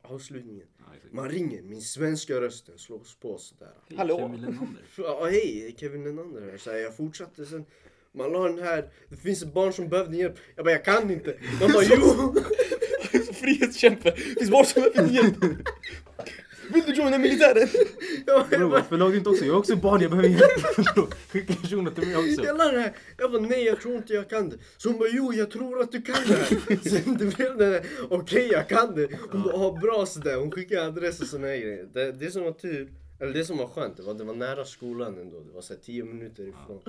Speaker 3: avslutningen.
Speaker 1: Ja, exakt.
Speaker 3: Man ringer, min svenska rösten slås på sådär.
Speaker 1: Hej,
Speaker 2: Hallå?
Speaker 1: Kevin Lennander.
Speaker 3: Ja, hej, Kevin Lenander här. Så här, jag fortsatte sen. Man la den här, det finns ett barn som behövde hjälp. Jag bara, jag kan inte. De bara, jo!
Speaker 2: Frihetskämpe. Finns var som helst hjälp.
Speaker 4: Vill du joina militären?
Speaker 3: Jag bara,
Speaker 1: Bror
Speaker 3: jag bara,
Speaker 1: varför lagde du inte också? Jag är också barn, jag behöver hjälp. Skicka en shuno till mig också.
Speaker 3: Hela det här. Jag bara nej jag tror inte jag kan det. Så hon bara jo jag tror att du kan det här. Sen det blev det där, okej jag kan det. Hon bara ah, bra sådär. Hon skickade adress och såna här grejer. Det, det som var tur, eller det som var skönt det var det var nära skolan ändå. Det var såhär 10 minuter ifrån.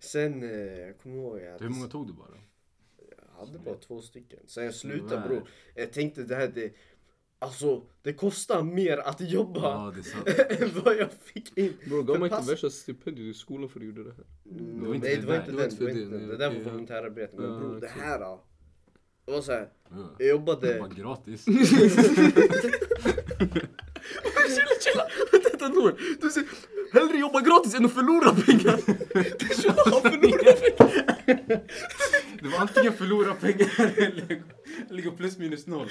Speaker 3: Sen, eh, jag kommer ihåg att
Speaker 1: Hur många tog du bara?
Speaker 3: jag hade bara två stycken. Sen jag
Speaker 1: Tyvärr.
Speaker 3: slutade bror. Jag tänkte det här det, alltså det kostar mer att jobba
Speaker 1: Ja, det är sant.
Speaker 3: än vad jag fick in.
Speaker 2: Bror gav mig inte
Speaker 3: Förpass-
Speaker 2: värsta stipendiet i skolan för att du gjorde det här.
Speaker 1: var inte
Speaker 3: Nej
Speaker 1: det
Speaker 3: det var
Speaker 1: där.
Speaker 3: inte
Speaker 1: Det
Speaker 2: var
Speaker 3: den,
Speaker 2: inte
Speaker 3: det var
Speaker 2: för
Speaker 3: inte
Speaker 2: det,
Speaker 3: den. Det
Speaker 2: nej,
Speaker 3: där
Speaker 2: okej,
Speaker 3: var
Speaker 2: ja.
Speaker 3: volontärarbete. Men
Speaker 2: Ja,
Speaker 3: bror det
Speaker 2: exakt.
Speaker 3: här då. Det var såhär,
Speaker 1: Ja.
Speaker 3: jag
Speaker 1: Det
Speaker 3: jobbade...
Speaker 1: var gratis.
Speaker 4: Chilla, chilla! Vänta, vänta, Noel. Du säger hellre jobba gratis än att förlora pengar. Det är så han förlorar pengar.
Speaker 1: Det var antingen förlora pengar eller eller gå plus minus noll.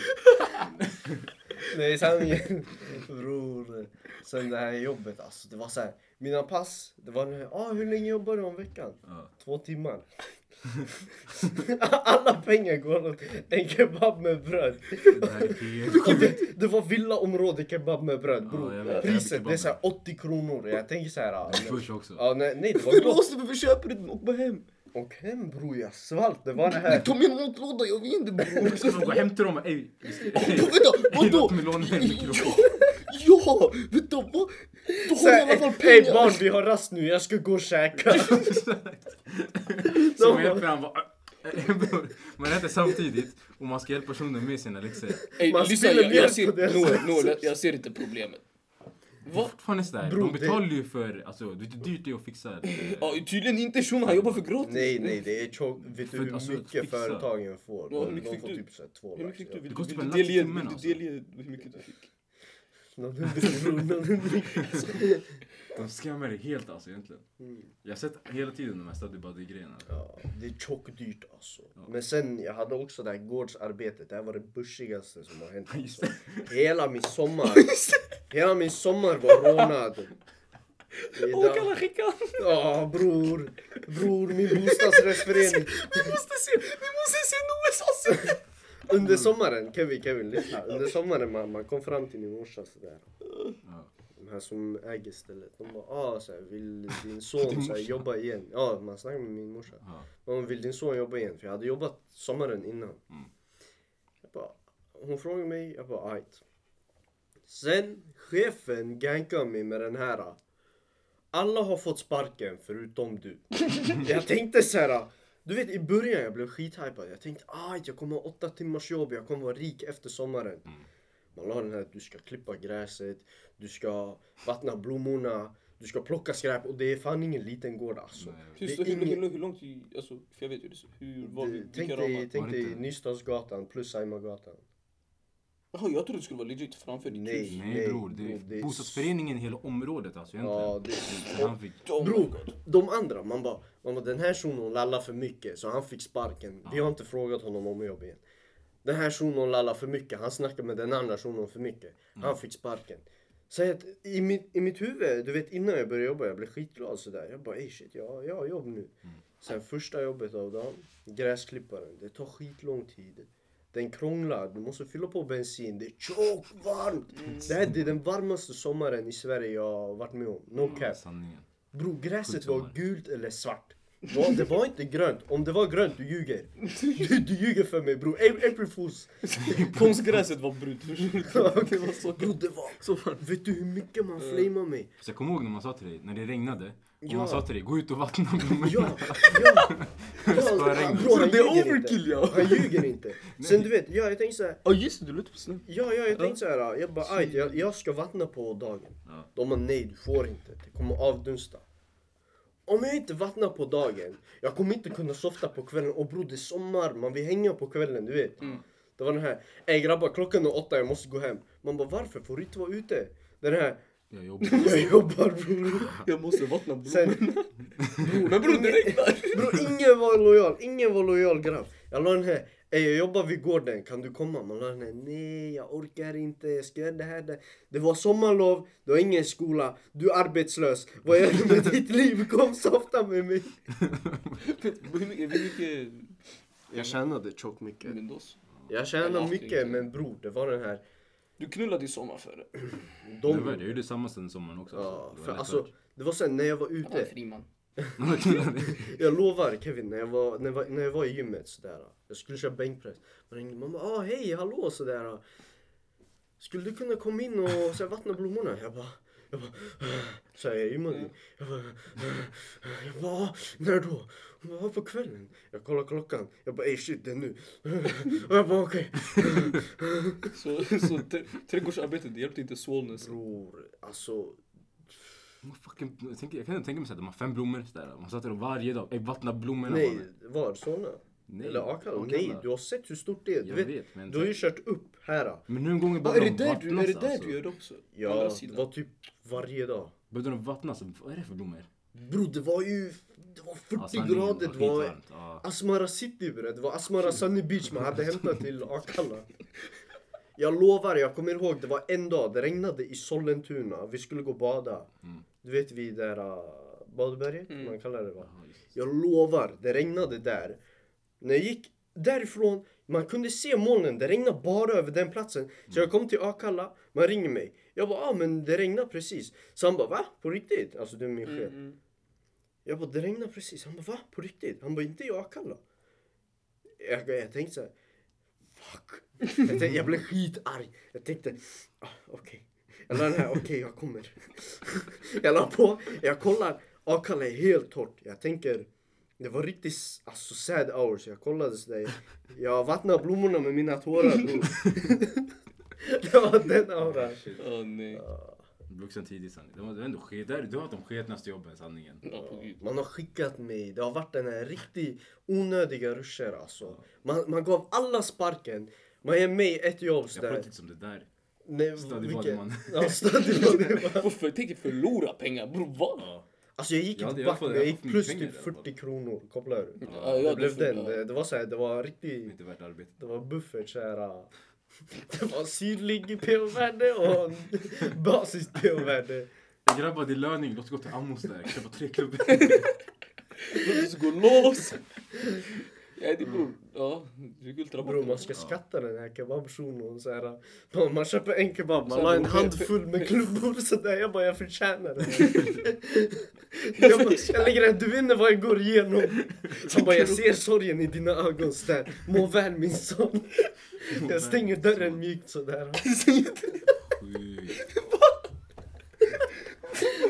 Speaker 3: Nej sanningen. Bror. Sen det här jobbet alltså. Det var såhär, mina pass. Det var den här, ah hur länge jobbar du om veckan?
Speaker 1: Ja.
Speaker 3: Två timmar. Alla pengar går åt en kebab med bröd.
Speaker 1: Det här är fel.
Speaker 3: Det, det var villaområde kebab med bröd bror.
Speaker 1: Ja, jag vet, jag vet
Speaker 3: Priset
Speaker 1: kebab
Speaker 3: det är såhär
Speaker 1: med.
Speaker 3: 80 kronor. Jag tänker såhär. ah,
Speaker 1: Det är
Speaker 3: men-
Speaker 1: Push också.
Speaker 3: Ja, nej, nej det var
Speaker 4: Du
Speaker 3: gott.
Speaker 4: låste mig, vi köper den och går hem.
Speaker 3: Och hem bror jag svalt. Det var det här.
Speaker 4: Ta min matlåda, jag vill inte bror.
Speaker 1: Ska man gå hem till dem och ey, vi ska-
Speaker 4: Vadå, Vänta,
Speaker 1: ey,
Speaker 4: vadå?
Speaker 1: låt mig låna en mikrofon.
Speaker 4: Ja, vänta vad? Då har jag i alla fall
Speaker 3: Hej
Speaker 4: pengar.
Speaker 3: barn vi har rast nu, jag ska gå och käka.
Speaker 1: Som hjälper han bara... Man äter samtidigt och man ska hjälpa personen med sina läxor.
Speaker 5: Ey,
Speaker 3: Man
Speaker 5: lyssna,
Speaker 3: spiller
Speaker 5: jag,
Speaker 3: mjölk
Speaker 5: jag,
Speaker 3: på
Speaker 5: ser,
Speaker 3: deras
Speaker 5: Noel, Noel, jag, jag ser inte problemet. Va?
Speaker 1: Fan är sådär,
Speaker 3: Bro,
Speaker 1: de
Speaker 3: det-
Speaker 1: betalar ju för... Alltså, det är dyrt det är att fixa. eh,
Speaker 5: Ja, tydligen inte shunon, han jobbar för gratis.
Speaker 3: Nej nej det är tjock. Vet du
Speaker 1: För-
Speaker 3: hur
Speaker 1: alltså,
Speaker 3: mycket
Speaker 1: fixa.
Speaker 3: företagen får?
Speaker 5: Ja, hur
Speaker 3: de
Speaker 5: mycket
Speaker 3: de
Speaker 5: fick
Speaker 3: får
Speaker 5: du?
Speaker 3: typ såhär två
Speaker 5: Hur
Speaker 3: lax.
Speaker 5: mycket fick du?
Speaker 3: ja.
Speaker 5: Vill,
Speaker 1: Det kostar
Speaker 5: vill, vill
Speaker 1: väl
Speaker 5: du delge
Speaker 1: lax i timmen alltså.
Speaker 5: vill du delge hur mycket du fick?
Speaker 3: Någon hundring, bror, någon hundring.
Speaker 1: De skämmer dig helt alltså egentligen.
Speaker 3: Mm.
Speaker 1: Jag har sett hela tiden de här studybody-grejerna.
Speaker 3: Ja, det är tjock dyrt alltså. Men sen jag hade också det här gårdsarbetet. Det här var det bushigaste som har hänt. Alltså. Hela min sommar. Hela min sommar var rånad.
Speaker 4: Åh, kalla skickan.
Speaker 3: Ja bror. Bror min bostadsrättsförening.
Speaker 4: Vi måste se, vi måste se Noels ansikte.
Speaker 3: Under sommaren, Kevin, Kevin, lyssna. Under sommaren man, man kom fram till min morsa sådär.
Speaker 1: Ja.
Speaker 3: De här som äger stället. De bara, ah, såhär, vill din son såhär, jobba igen? Ja, man snackade med min morsa.
Speaker 1: Ja.
Speaker 3: Mamma, vill din son jobba igen? För jag hade jobbat sommaren innan. Jag bara, hon frågade mig, jag bara ajt. Sen chefen gankar mig med den här. Alla har fått sparken förutom du. jag tänkte så här. Du vet i början jag blev skithypad. Jag tänkte ajt jag kommer ha åtta timmars jobb, jag kommer vara rik efter sommaren. Man la den här du ska klippa gräset, du ska vattna blommorna, du ska plocka skräp och det är fan ingen liten gård alltså.
Speaker 1: Nej.
Speaker 5: Hur,
Speaker 3: Det är
Speaker 5: hur, hur,
Speaker 3: ingen-
Speaker 5: hur, hur långt, i- alltså, för jag vet hur det ser hur, var,
Speaker 3: Du,
Speaker 5: vilka
Speaker 3: tänk
Speaker 5: ramar?
Speaker 3: dig, tänk
Speaker 1: Var
Speaker 3: dig
Speaker 1: inte-
Speaker 3: Nystadsgatan plus Saimagatan.
Speaker 5: Jaha, jag trodde det skulle vara legit framför ditt
Speaker 3: Nej.
Speaker 5: hus.
Speaker 1: Nej bror, det
Speaker 3: bror, det
Speaker 1: är
Speaker 3: är-
Speaker 1: bostadsföreningen i hela området alltså egentligen.
Speaker 3: Ja, det är...
Speaker 1: Så han fick...
Speaker 5: Oh my
Speaker 3: Bro,
Speaker 5: god.
Speaker 3: de andra, man bara, man bara den här shunon lallar för mycket så han fick sparken. Vi har inte frågat honom om jobb igen. Den här shunon lallar för mycket, han snackar med den andra shunon för mycket. Han fick sparken. Så att i mitt, i mitt huvud, du vet innan jag började jobba, jag blev skitglad sådär. Jag bara ey shit, jag, jag har jobb nu. Sen första jobbet av dagen, gräsklipparen, det tar skitlång tid. Den krånglar, du måste fylla på bensin, det är tjockt varmt. Det här det är den varmaste sommaren i Sverige jag har varit med om. No
Speaker 1: Ja,
Speaker 3: cap.
Speaker 1: sanningen.
Speaker 3: Bro, gräset
Speaker 1: Skitsommar.
Speaker 3: var gult eller svart. Va, det var inte grönt. Om det var grönt, du ljuger. Du, du ljuger för mig bro. A- April Fools.
Speaker 5: Konstgräset var brunt, förstår du? Det var så
Speaker 3: Bro, det var...
Speaker 2: Så fan.
Speaker 3: Vet du hur mycket man
Speaker 4: Eh,
Speaker 3: flamar mig?
Speaker 1: Så Alltså, jag kommer ihåg när man sa till dig, när det regnade, och
Speaker 3: Ja.
Speaker 1: man sa till dig gå ut och vattna blommorna.
Speaker 3: Ja, ja. ja
Speaker 1: Spöregn.
Speaker 3: bro, han
Speaker 4: Det är
Speaker 3: ljuger
Speaker 4: overkill,
Speaker 3: inte.
Speaker 4: ja.
Speaker 3: Han ljuger inte. Sen du vet, ja, jag tänkte så här.
Speaker 4: Ja just det, du lät på snö.
Speaker 3: Ja, ja, jag tänkte så här. Jag bara, aj, jag, jag ska vattna på dagen.
Speaker 1: Ja.
Speaker 3: De bara, nej du får inte. Det kommer avdunsta. Om jag inte vattnar på dagen, jag kommer inte kunna softa på kvällen. Och bror, det är sommar, man vill hänga på kvällen, du vet. Det var den här, ey grabbar klockan är åtta, jag måste gå hem. Man bara, varför får du inte vara ute? Den här,
Speaker 1: Jag jobbar.
Speaker 3: jag jobbar bror.
Speaker 5: Jag måste vattna blommorna.
Speaker 3: Sen,
Speaker 5: Men bror, det regnar!
Speaker 3: Bro, ingen var lojal, ingen var lojal grabb. Jag la den här, ey jag jobbar vid gården, kan du komma? Man la den här, nej jag orkar inte, jag ska göra det här. Det, det var sommarlov, du har ingen skola, du är arbetslös. Vad gör du med ditt liv? Kom softa med mig.
Speaker 5: Hur mycket, hur mycket...
Speaker 3: Jag tjänade tjockt mycket.
Speaker 5: Men då så.
Speaker 3: Jag tjänade mycket men bror, det var den här
Speaker 5: Du knullade i sommar för det.
Speaker 1: Det
Speaker 3: De,
Speaker 1: var, jag gjorde samma sen sommaren också.
Speaker 3: ja,
Speaker 1: alltså. Det
Speaker 3: för
Speaker 1: var lätt
Speaker 3: alltså, det var sen när jag var
Speaker 5: Jag var en
Speaker 3: ute.
Speaker 5: fri man.
Speaker 1: värre.
Speaker 3: Jag lovar Kevin, när jag var, när jag var, när jag var i gymmet sådär. Jag skulle köra bänkpress. Man ringde mamma, ah hej, hallå sådär. Skulle du kunna komma in och så här, vattna blommorna? Jag bara, jag bara, "Ah", så här, jag gymmade. ju. Jag bara, "Ah", jag bara, "Ah, när då? Hon bara, "Ah, på kvällen. Jag kollar klockan. Jag bara, ey shit, det är nu. Och jag bara, okej.
Speaker 5: Så, så tre- trädgårdsarbetet det hjälpte inte Swolness.
Speaker 3: Bror, alltså.
Speaker 1: Man fucking, jag, tänker, jag kan inte tänka mig såhär, de har fem blommor sådär. Man satt där och varje dag, "Ey, vattna blommorna.
Speaker 3: Nej,
Speaker 1: mannen."
Speaker 3: var Solna?
Speaker 1: nej.
Speaker 3: Eller Akalla?
Speaker 1: Akalla.
Speaker 3: Nej, du har sett hur stort det är. Du
Speaker 1: Jag
Speaker 3: vet,
Speaker 1: vet, men-
Speaker 3: du har ju kört upp här.
Speaker 1: Men nu en gång
Speaker 5: Ah,
Speaker 1: började
Speaker 5: är det
Speaker 1: de
Speaker 5: där du,
Speaker 1: vattnas
Speaker 5: är det där
Speaker 1: alltså.
Speaker 5: du gör det också? Å
Speaker 3: Ja,
Speaker 5: andra
Speaker 3: det
Speaker 5: sidan.
Speaker 3: var typ varje dag.
Speaker 1: Började de vattnas, vad är det för blommor?
Speaker 3: Bror, det var ju det var 40
Speaker 1: sanningen
Speaker 3: grader. Det var
Speaker 1: skitvarmt, ja.
Speaker 3: Asmara city bre. Det var Asmara Sunny Beach man hade hämtat till Akalla. Jag lovar, jag kommer ihåg, det var en dag, det regnade i Sollentuna. Vi skulle gå och bada. Du vet vid det där äh, badberget, man kallar det va? Jag lovar, det regnade där. När jag gick därifrån, man kunde se molnen, det regnade bara över den platsen. Så jag kom till Akalla, man ringer mig. Jag bara, ah men det regnade precis. Så han bara, va? På riktigt? Alltså du är min
Speaker 2: Mm.
Speaker 5: Mm,
Speaker 3: chef. Jag bara, det regnade precis. Han bara, va? På riktigt? Han bara, inte i Akalla. Jag, jag tänkte så här, fuck. Jag, tänkte, jag blev skitarg. Jag tänkte, ah, okej. Jag la den här, okej jag kommer. Jag la på, jag kollar, Akalla är helt torrt. Jag tänker, det var riktigt s- alltså, sad hours. Jag kollade sådär. Jag vattnade blommorna med mina tårar bror. Det var den auran.
Speaker 5: Åh nej.
Speaker 1: Vuxen tidig sanning. Det var det var ändå sket, där, du har haft de sketnaste jobben sanningen.
Speaker 5: Ja, på gud.
Speaker 3: Man har skickat mig. Det har varit den här riktigt onödiga ruscher alltså. Man, man gav alla sparken. Man ger mig ett jobb
Speaker 1: Jag pratar
Speaker 3: sådär.
Speaker 1: inte som det där.
Speaker 3: Nej,
Speaker 1: stadig
Speaker 3: vilken-
Speaker 1: bodyman.
Speaker 3: Ja, stadig bodyman.
Speaker 5: Varför tänker förlora pengar bror? Vad?
Speaker 3: Alltså jag gick
Speaker 1: Ja,
Speaker 3: inte
Speaker 1: det- jag
Speaker 3: back,
Speaker 1: får-
Speaker 3: men
Speaker 1: jag
Speaker 3: jag gick
Speaker 1: får
Speaker 3: plus
Speaker 1: pengar
Speaker 3: typ
Speaker 1: i alla fall.
Speaker 3: 40 kronor. Kopplar du?
Speaker 5: Ja, ja,
Speaker 3: det
Speaker 5: det
Speaker 3: blev
Speaker 5: får-
Speaker 3: den.
Speaker 5: ja.
Speaker 3: Det, det var såhär, det var
Speaker 1: Det är
Speaker 3: riktigt...
Speaker 1: inte värt arbetet.
Speaker 3: Det var buffert såhär... Det var synlig pH-värde och basis pH-värde.
Speaker 1: Grabbar, det är löning. Låt oss gå till Ammos där. Köpa tre klubbor.
Speaker 5: Låt oss gå loss! Ja, det beror... Mm. Ja, du gick ultra
Speaker 3: Bror man ska skatta den här kebabshunon såhär. Man, man köper en kebab, man la en handfull med klubbor sådär. Jag bara jag förtjänar det. Jag, bara, jag lägger den, du vet inte vad jag går igenom. Han bara jag ser sorgen i dina ögon sådär. Må väl min son. Jag stänger dörren mjukt sådär.
Speaker 1: Sjukt.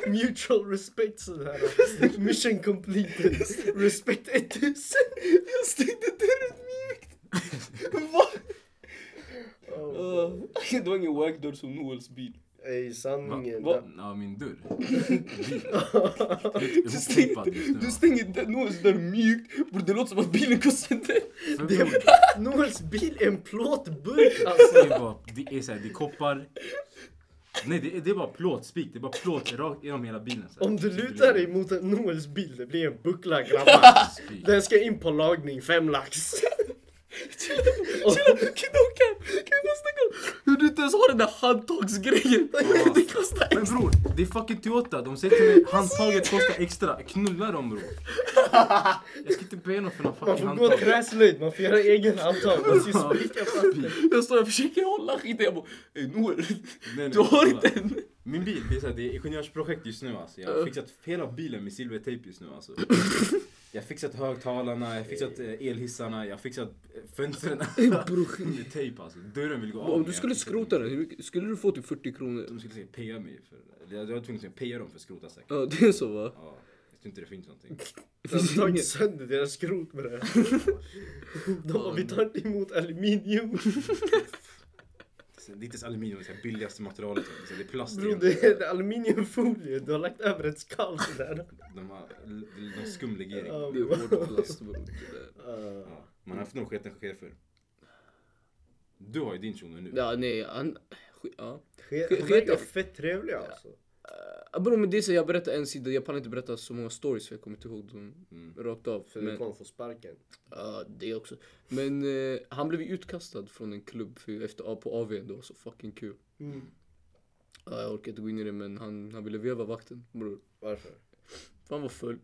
Speaker 3: Mutual respect sådär. Mission completed. Respect 1000. Jag stängde dörren mjukt. Va?
Speaker 5: Det var ingen wackdörr som Noels bil.
Speaker 3: Ey sanningen.
Speaker 5: Va?
Speaker 3: där-
Speaker 1: Ja, min dörr. Helt ihoppipad just nu. alltså.
Speaker 5: Du stänger den- Noels dörr mjukt. Bror det låter som att bilen går sönder.
Speaker 1: För
Speaker 3: Det
Speaker 1: bror,
Speaker 3: är Noels bil är en plåtburk alltså.
Speaker 1: Det är bara, det är såhär, det är koppar. Nej, det är, det är bara plåtspik. Det är bara plåt rakt genom hela bilen. Så här. Typ
Speaker 3: Om du
Speaker 1: Så det
Speaker 3: lutar dig
Speaker 1: blir
Speaker 3: mot en Noels bil, det blir en buckla grabbar.
Speaker 1: spik.
Speaker 3: Den ska in på lagning, fem lax.
Speaker 5: Tjena, knocka! Kan vi bara snacka om hur du inte ens har den där handtagsgrejen? Det kostar
Speaker 1: Men bror, det är fucking Toyota. De säger till mig handtaget kostar extra. Knulla dem bror. Jag ska inte be någon för någon
Speaker 3: Man
Speaker 1: fucking
Speaker 3: får gå
Speaker 1: handtag.
Speaker 3: träslöjd, man får göra egen handtag. Man ska ju spika fast den.
Speaker 5: Jag står och försöker hålla skiten. Jag bara, "Ey, Noel,
Speaker 1: nej,
Speaker 5: du har
Speaker 1: kolla.
Speaker 5: inte en.
Speaker 1: Min bil, det är, så här, det är ingenjörsprojekt just nu alltså. Jag har fixat hela bilen med silvertejp just nu alltså. Jag har fixat högtalarna, jag har fixat eh, elhissarna, jag har fixat eh, fönstren med tejp alltså. Dörren vill gå av.
Speaker 2: Om
Speaker 1: men
Speaker 2: du
Speaker 1: jag
Speaker 2: skulle
Speaker 1: fixar den.
Speaker 2: skrota den, hur mycket- skulle du få typ 40 kronor?
Speaker 1: De skulle säkert PA mig för... eller Jag var tvungen att PA dem för att skrota säkert.
Speaker 2: Ja, det är så va?
Speaker 1: Ja, jag tror inte det finns någonting.
Speaker 2: Det
Speaker 3: De
Speaker 2: finns
Speaker 3: har tagit
Speaker 2: inget.
Speaker 3: sönder deras skrot med det. De bara, vi tar inte emot aluminium.
Speaker 1: Det är inte ens aluminium, det är det billigaste materialet. typ. Det är plast
Speaker 3: Bro,
Speaker 1: egentligen.
Speaker 3: det är aluminiumfolie. Du har lagt över ett skal sådär.
Speaker 1: De har de har skumlegering.
Speaker 3: Ja,
Speaker 2: Det är hård plast bror. Det där.
Speaker 3: Uh,
Speaker 1: Ja, man har haft någon sketen chefer. Du har ju din shuno nu.
Speaker 2: Ja, nej. Han, sk- ja.
Speaker 3: de verkar fett trevliga alltså.
Speaker 2: Ah, Bror men det är så jag berättar en sida, jag pallar inte berätta så många stories för jag kommer inte ihåg dem rakt av.
Speaker 3: För du
Speaker 2: Men,
Speaker 3: kommer få sparken.
Speaker 2: ja, det också. Men eh, han blev ju utkastad från en klubb för, efter, på AV det var så fucking kul. Ja, jag orkar inte gå in i det men han, han ville veva vakten bror.
Speaker 3: Varför?
Speaker 2: För han var full.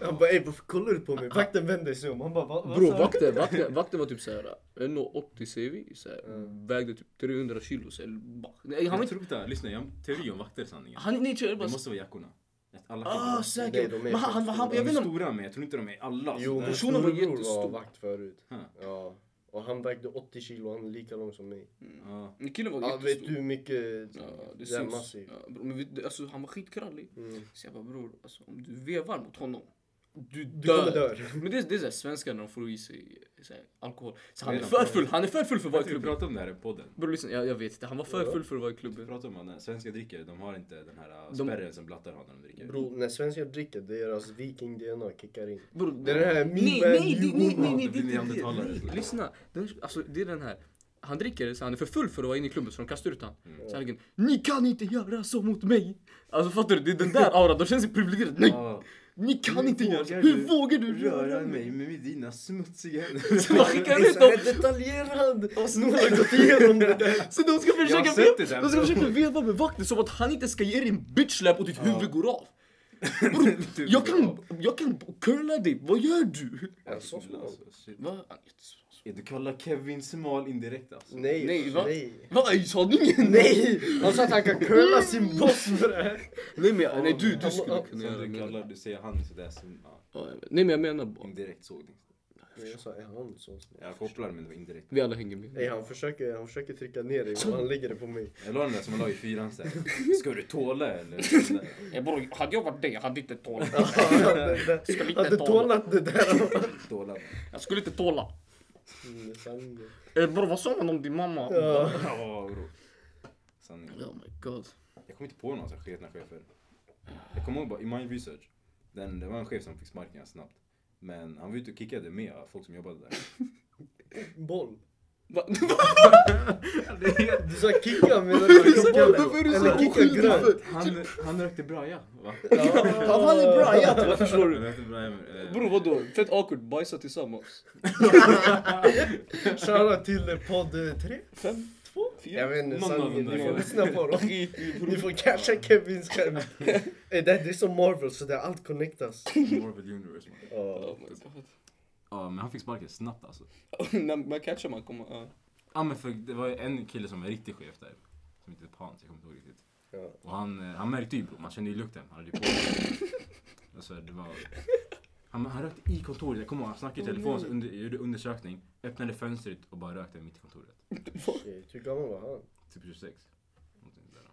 Speaker 3: Han bara ey varför kollar du på mig? Vakten vänder sig om. Han bara "Va- vad
Speaker 2: Bro,
Speaker 3: sa du?"
Speaker 2: vakten, vakten, vakten var typ såhär 1,80 ser vi, såhär,
Speaker 3: Mm.
Speaker 2: vägde typ 300 kilo. Såhär, bara- nej, han, var
Speaker 1: Jag
Speaker 2: inte,
Speaker 1: tror inte, lyssna jag har en teori om vakter sanningen.
Speaker 2: han, nej, kör, bara,
Speaker 1: Det måste vara jackorna. Att alla
Speaker 2: ah,
Speaker 1: killar-
Speaker 2: säkert.
Speaker 3: Nej, de är
Speaker 2: men han, han,
Speaker 3: fett
Speaker 2: han,
Speaker 1: de
Speaker 2: jag
Speaker 1: är
Speaker 2: vet inte om...
Speaker 1: stora men jag tror inte de är alla.
Speaker 3: Jo,
Speaker 1: sådär.
Speaker 3: min
Speaker 2: Alltså, personen var
Speaker 3: storebror
Speaker 2: jättestor.
Speaker 3: vakt förut.
Speaker 1: Huh.
Speaker 3: Ja. Och han vägde 80 kilo, han är lika lång som mig.
Speaker 1: Ja.
Speaker 2: Men Killen var
Speaker 3: Ja, vet du
Speaker 2: jättestor.
Speaker 3: hur mycket...
Speaker 2: Ja, det
Speaker 3: det är
Speaker 2: syns.
Speaker 3: massivt.
Speaker 2: Ja, bro, men vi, alltså, han var skitkrallig.
Speaker 3: Mm.
Speaker 2: Så jag bara bror, alltså, om du vevar mot honom, du
Speaker 3: Du kommer
Speaker 2: dör.
Speaker 3: dö.
Speaker 2: Men det, är- det är såhär svenskar när de får i sig såhär, alkohol. Så han
Speaker 1: Nej,
Speaker 2: är
Speaker 1: de
Speaker 2: för
Speaker 1: får-
Speaker 2: full, han är för full för att vara
Speaker 1: Jag
Speaker 2: i
Speaker 1: tror vi
Speaker 2: klubben.
Speaker 1: pratade om det här i podden.
Speaker 2: Bror lyssna, jag, jag vet inte. Han var för
Speaker 3: Ja.
Speaker 2: full för att vara i
Speaker 1: Vi
Speaker 2: klubben.
Speaker 1: pratade om att svenska drickare, de har inte den här uh,
Speaker 2: De-
Speaker 1: spärren som blattar har när de dricker.
Speaker 3: Bro, när svenskar dricker, deras viking-DNA kickar in.
Speaker 2: Bror,
Speaker 3: Det är den här
Speaker 2: nej,
Speaker 3: mimen,
Speaker 2: nej, nej, nej, nej, nej,
Speaker 1: Det
Speaker 2: det
Speaker 1: blir
Speaker 2: är inte det.
Speaker 1: neandertalare.
Speaker 2: Nej, Lyssna, den, alltså, det är den här. Han dricker så han är för full för att vara inne i klubben så de kastar ut han. Så han ligger, ni kan inte göra så mot mig. Alltså fattar du? Det är den där auran, de känner sig privilegierade. Nej,
Speaker 1: Ah,
Speaker 2: ni kan
Speaker 1: Hur
Speaker 2: inte göra så.
Speaker 1: vågar
Speaker 2: Hur
Speaker 1: du
Speaker 2: vågar du
Speaker 1: röra mig med dina smutsiga
Speaker 2: Så bara
Speaker 1: händer.
Speaker 3: Det
Speaker 2: skickar
Speaker 3: är
Speaker 2: ut
Speaker 3: så här
Speaker 2: dem.
Speaker 3: detaljerad! Någon har gått igenom det där.
Speaker 2: Så de ska försöka,
Speaker 1: sett det där,
Speaker 2: de ska
Speaker 1: bro.
Speaker 2: försöka veva med vakten som att han inte ska ge dig en bitch slap och ditt huvud går av.
Speaker 1: Du,
Speaker 2: Jag kan, jag kan curla dig, vad gör du?
Speaker 1: Alltså, alltså, shit.
Speaker 2: Va? Han är jättesmal.
Speaker 1: Ja, Du kallar Kevin smal indirekt alltså.
Speaker 3: Nej,
Speaker 2: Nej,
Speaker 3: nej.
Speaker 2: va?
Speaker 3: nej.
Speaker 2: Va? Sa han ingen?
Speaker 3: Han sa att han kan curla sin boss för det här.
Speaker 2: Nej men jag- nej, du, du
Speaker 3: Han-
Speaker 2: skulle
Speaker 3: han-
Speaker 2: kunna
Speaker 1: Som
Speaker 2: göra
Speaker 1: du
Speaker 2: det.
Speaker 1: kallar, du säger han sådär som ja,
Speaker 2: Ja, jag vet. Nej men jag menar bara,
Speaker 1: indirekt sågning.
Speaker 3: Men Jag sa, är han så snäll?
Speaker 1: Jag kopplar men det var indirekt.
Speaker 2: vi alla hänger med.
Speaker 3: Nej, han försöker, han försöker trycka ner dig, men han lägger det på mig.
Speaker 1: Jag la den där som man la i fyran såhär. Ska du tåla eller? Sån där.
Speaker 5: Eh, Bror, hade jag varit dig, jag hade inte tålat.
Speaker 3: Han hade-
Speaker 5: inte
Speaker 3: hade
Speaker 5: tala.
Speaker 3: tålat det där.
Speaker 1: Tåla.
Speaker 5: Jag skulle inte tåla.
Speaker 3: Mm, sanningen.
Speaker 5: Eh, Bror, vad sa man om din mamma?
Speaker 3: Ja.
Speaker 1: Ja bro. Sanning.
Speaker 2: Oh my god.
Speaker 1: Jag kommer inte på några så här sketna chefer. Jag kommer ihåg bara i Mind Research. Den, det var en chef som fick sparken snabbt. Men han var ute och kickade med folk som jobbade där.
Speaker 3: Boll.
Speaker 2: Va?
Speaker 3: Du sa kicka menar du
Speaker 2: sa
Speaker 3: kicka?
Speaker 2: boll, varför är du så
Speaker 3: Eller kicka
Speaker 2: oskyldig
Speaker 3: grönt?
Speaker 1: Han, han rökte braja va?
Speaker 2: Han han är bra, jag tror, förstår
Speaker 1: Han
Speaker 2: du?
Speaker 1: rökte braja med, eh,
Speaker 2: Bror vadå? Fett awkward, bajsa tillsammans.
Speaker 3: Shoutout till eh, podd 3.
Speaker 2: Fem, två, fyra.
Speaker 3: Jag vet inte,
Speaker 1: Någon av
Speaker 3: sanningen.
Speaker 1: dem där
Speaker 3: Ni får
Speaker 1: kan-
Speaker 3: lyssna på dem.
Speaker 2: Skit i bror.
Speaker 3: Ni får casha Kevins skämt. Eh, Det det är som Marvel, så där allt connectas.
Speaker 1: Marvel Universe man.
Speaker 3: Ja.
Speaker 2: Oh my god.
Speaker 1: Ja men han fick sparken snabbt alltså.
Speaker 2: När man catchar man kommer... ja.
Speaker 1: Ja men för det var ju en kille som var riktig chef där. Som hette Pans, jag kommer inte ihåg riktigt.
Speaker 3: Ja.
Speaker 1: Och han, eh, han märkte ju bro, man kände ju lukten. Han hade ju på sig. alltså, det var... Han, han rökte i kontoret, jag kommer ihåg han snackade i telefon, så under, gjorde undersökning. Öppnade fönstret och bara rökte mitt i kontoret.
Speaker 3: Shit, Hur gammal var han?
Speaker 1: Typ 26. Någonting sådär.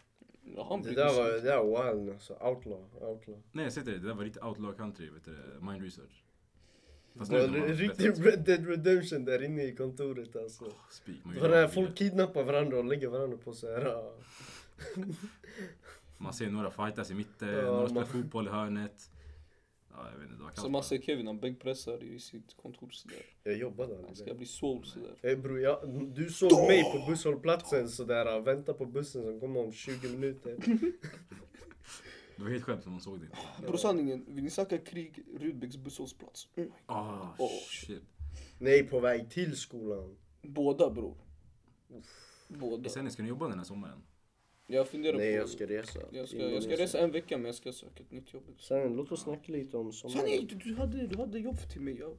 Speaker 2: Ja, Han
Speaker 3: Det
Speaker 2: blir
Speaker 3: där var, det där var wild alltså. Outlaw. outlaw.
Speaker 1: Nej jag säger det, det där var riktigt outlaw country, vet du det? Mind research. Fast
Speaker 3: Det var
Speaker 1: är de bara bättre.
Speaker 3: riktig Red Dead Redemption där inne i kontoret alltså.
Speaker 1: Speak, man
Speaker 3: Det
Speaker 1: gör
Speaker 3: var när
Speaker 1: det man
Speaker 3: folk
Speaker 1: vill.
Speaker 3: kidnappar varandra och lägger varandra på så här. ja.
Speaker 1: Man ser några fightas i mitten,
Speaker 3: Ja,
Speaker 1: några spelar
Speaker 3: man-
Speaker 1: fotboll i hörnet. Ja jag vet inte, det var
Speaker 2: Så man ser Kevin, han bänkpressar i sitt kontor sådär.
Speaker 3: Jag jobbade
Speaker 2: Han
Speaker 3: aldrig
Speaker 2: ska
Speaker 3: där.
Speaker 2: bli soul sådär.
Speaker 3: Hey Eh, bro, jag, du såg mig på busshållplatsen sådär, ja, vänta på bussen som kommer om 20 minuter.
Speaker 1: Det var helt skönt som man såg det.
Speaker 2: Bror sanningen, vill ni snacka krig, Rudbecks busshållplats? Mm.
Speaker 1: Ah
Speaker 2: Åh,
Speaker 1: shit.
Speaker 3: Nej, på väg till skolan.
Speaker 2: Båda bror. Båda.
Speaker 1: Sen ska ni jobba den här sommaren?
Speaker 2: Jag funderar
Speaker 3: Nej,
Speaker 2: på...
Speaker 3: jag ska resa.
Speaker 2: Jag ska, jag ska resa en vecka men jag ska söka ett nytt jobb.
Speaker 3: Sen, låt oss snacka lite om
Speaker 2: Sen nej,
Speaker 3: sommaren.
Speaker 2: du, du, hade, du hade jobb till mig. Jag,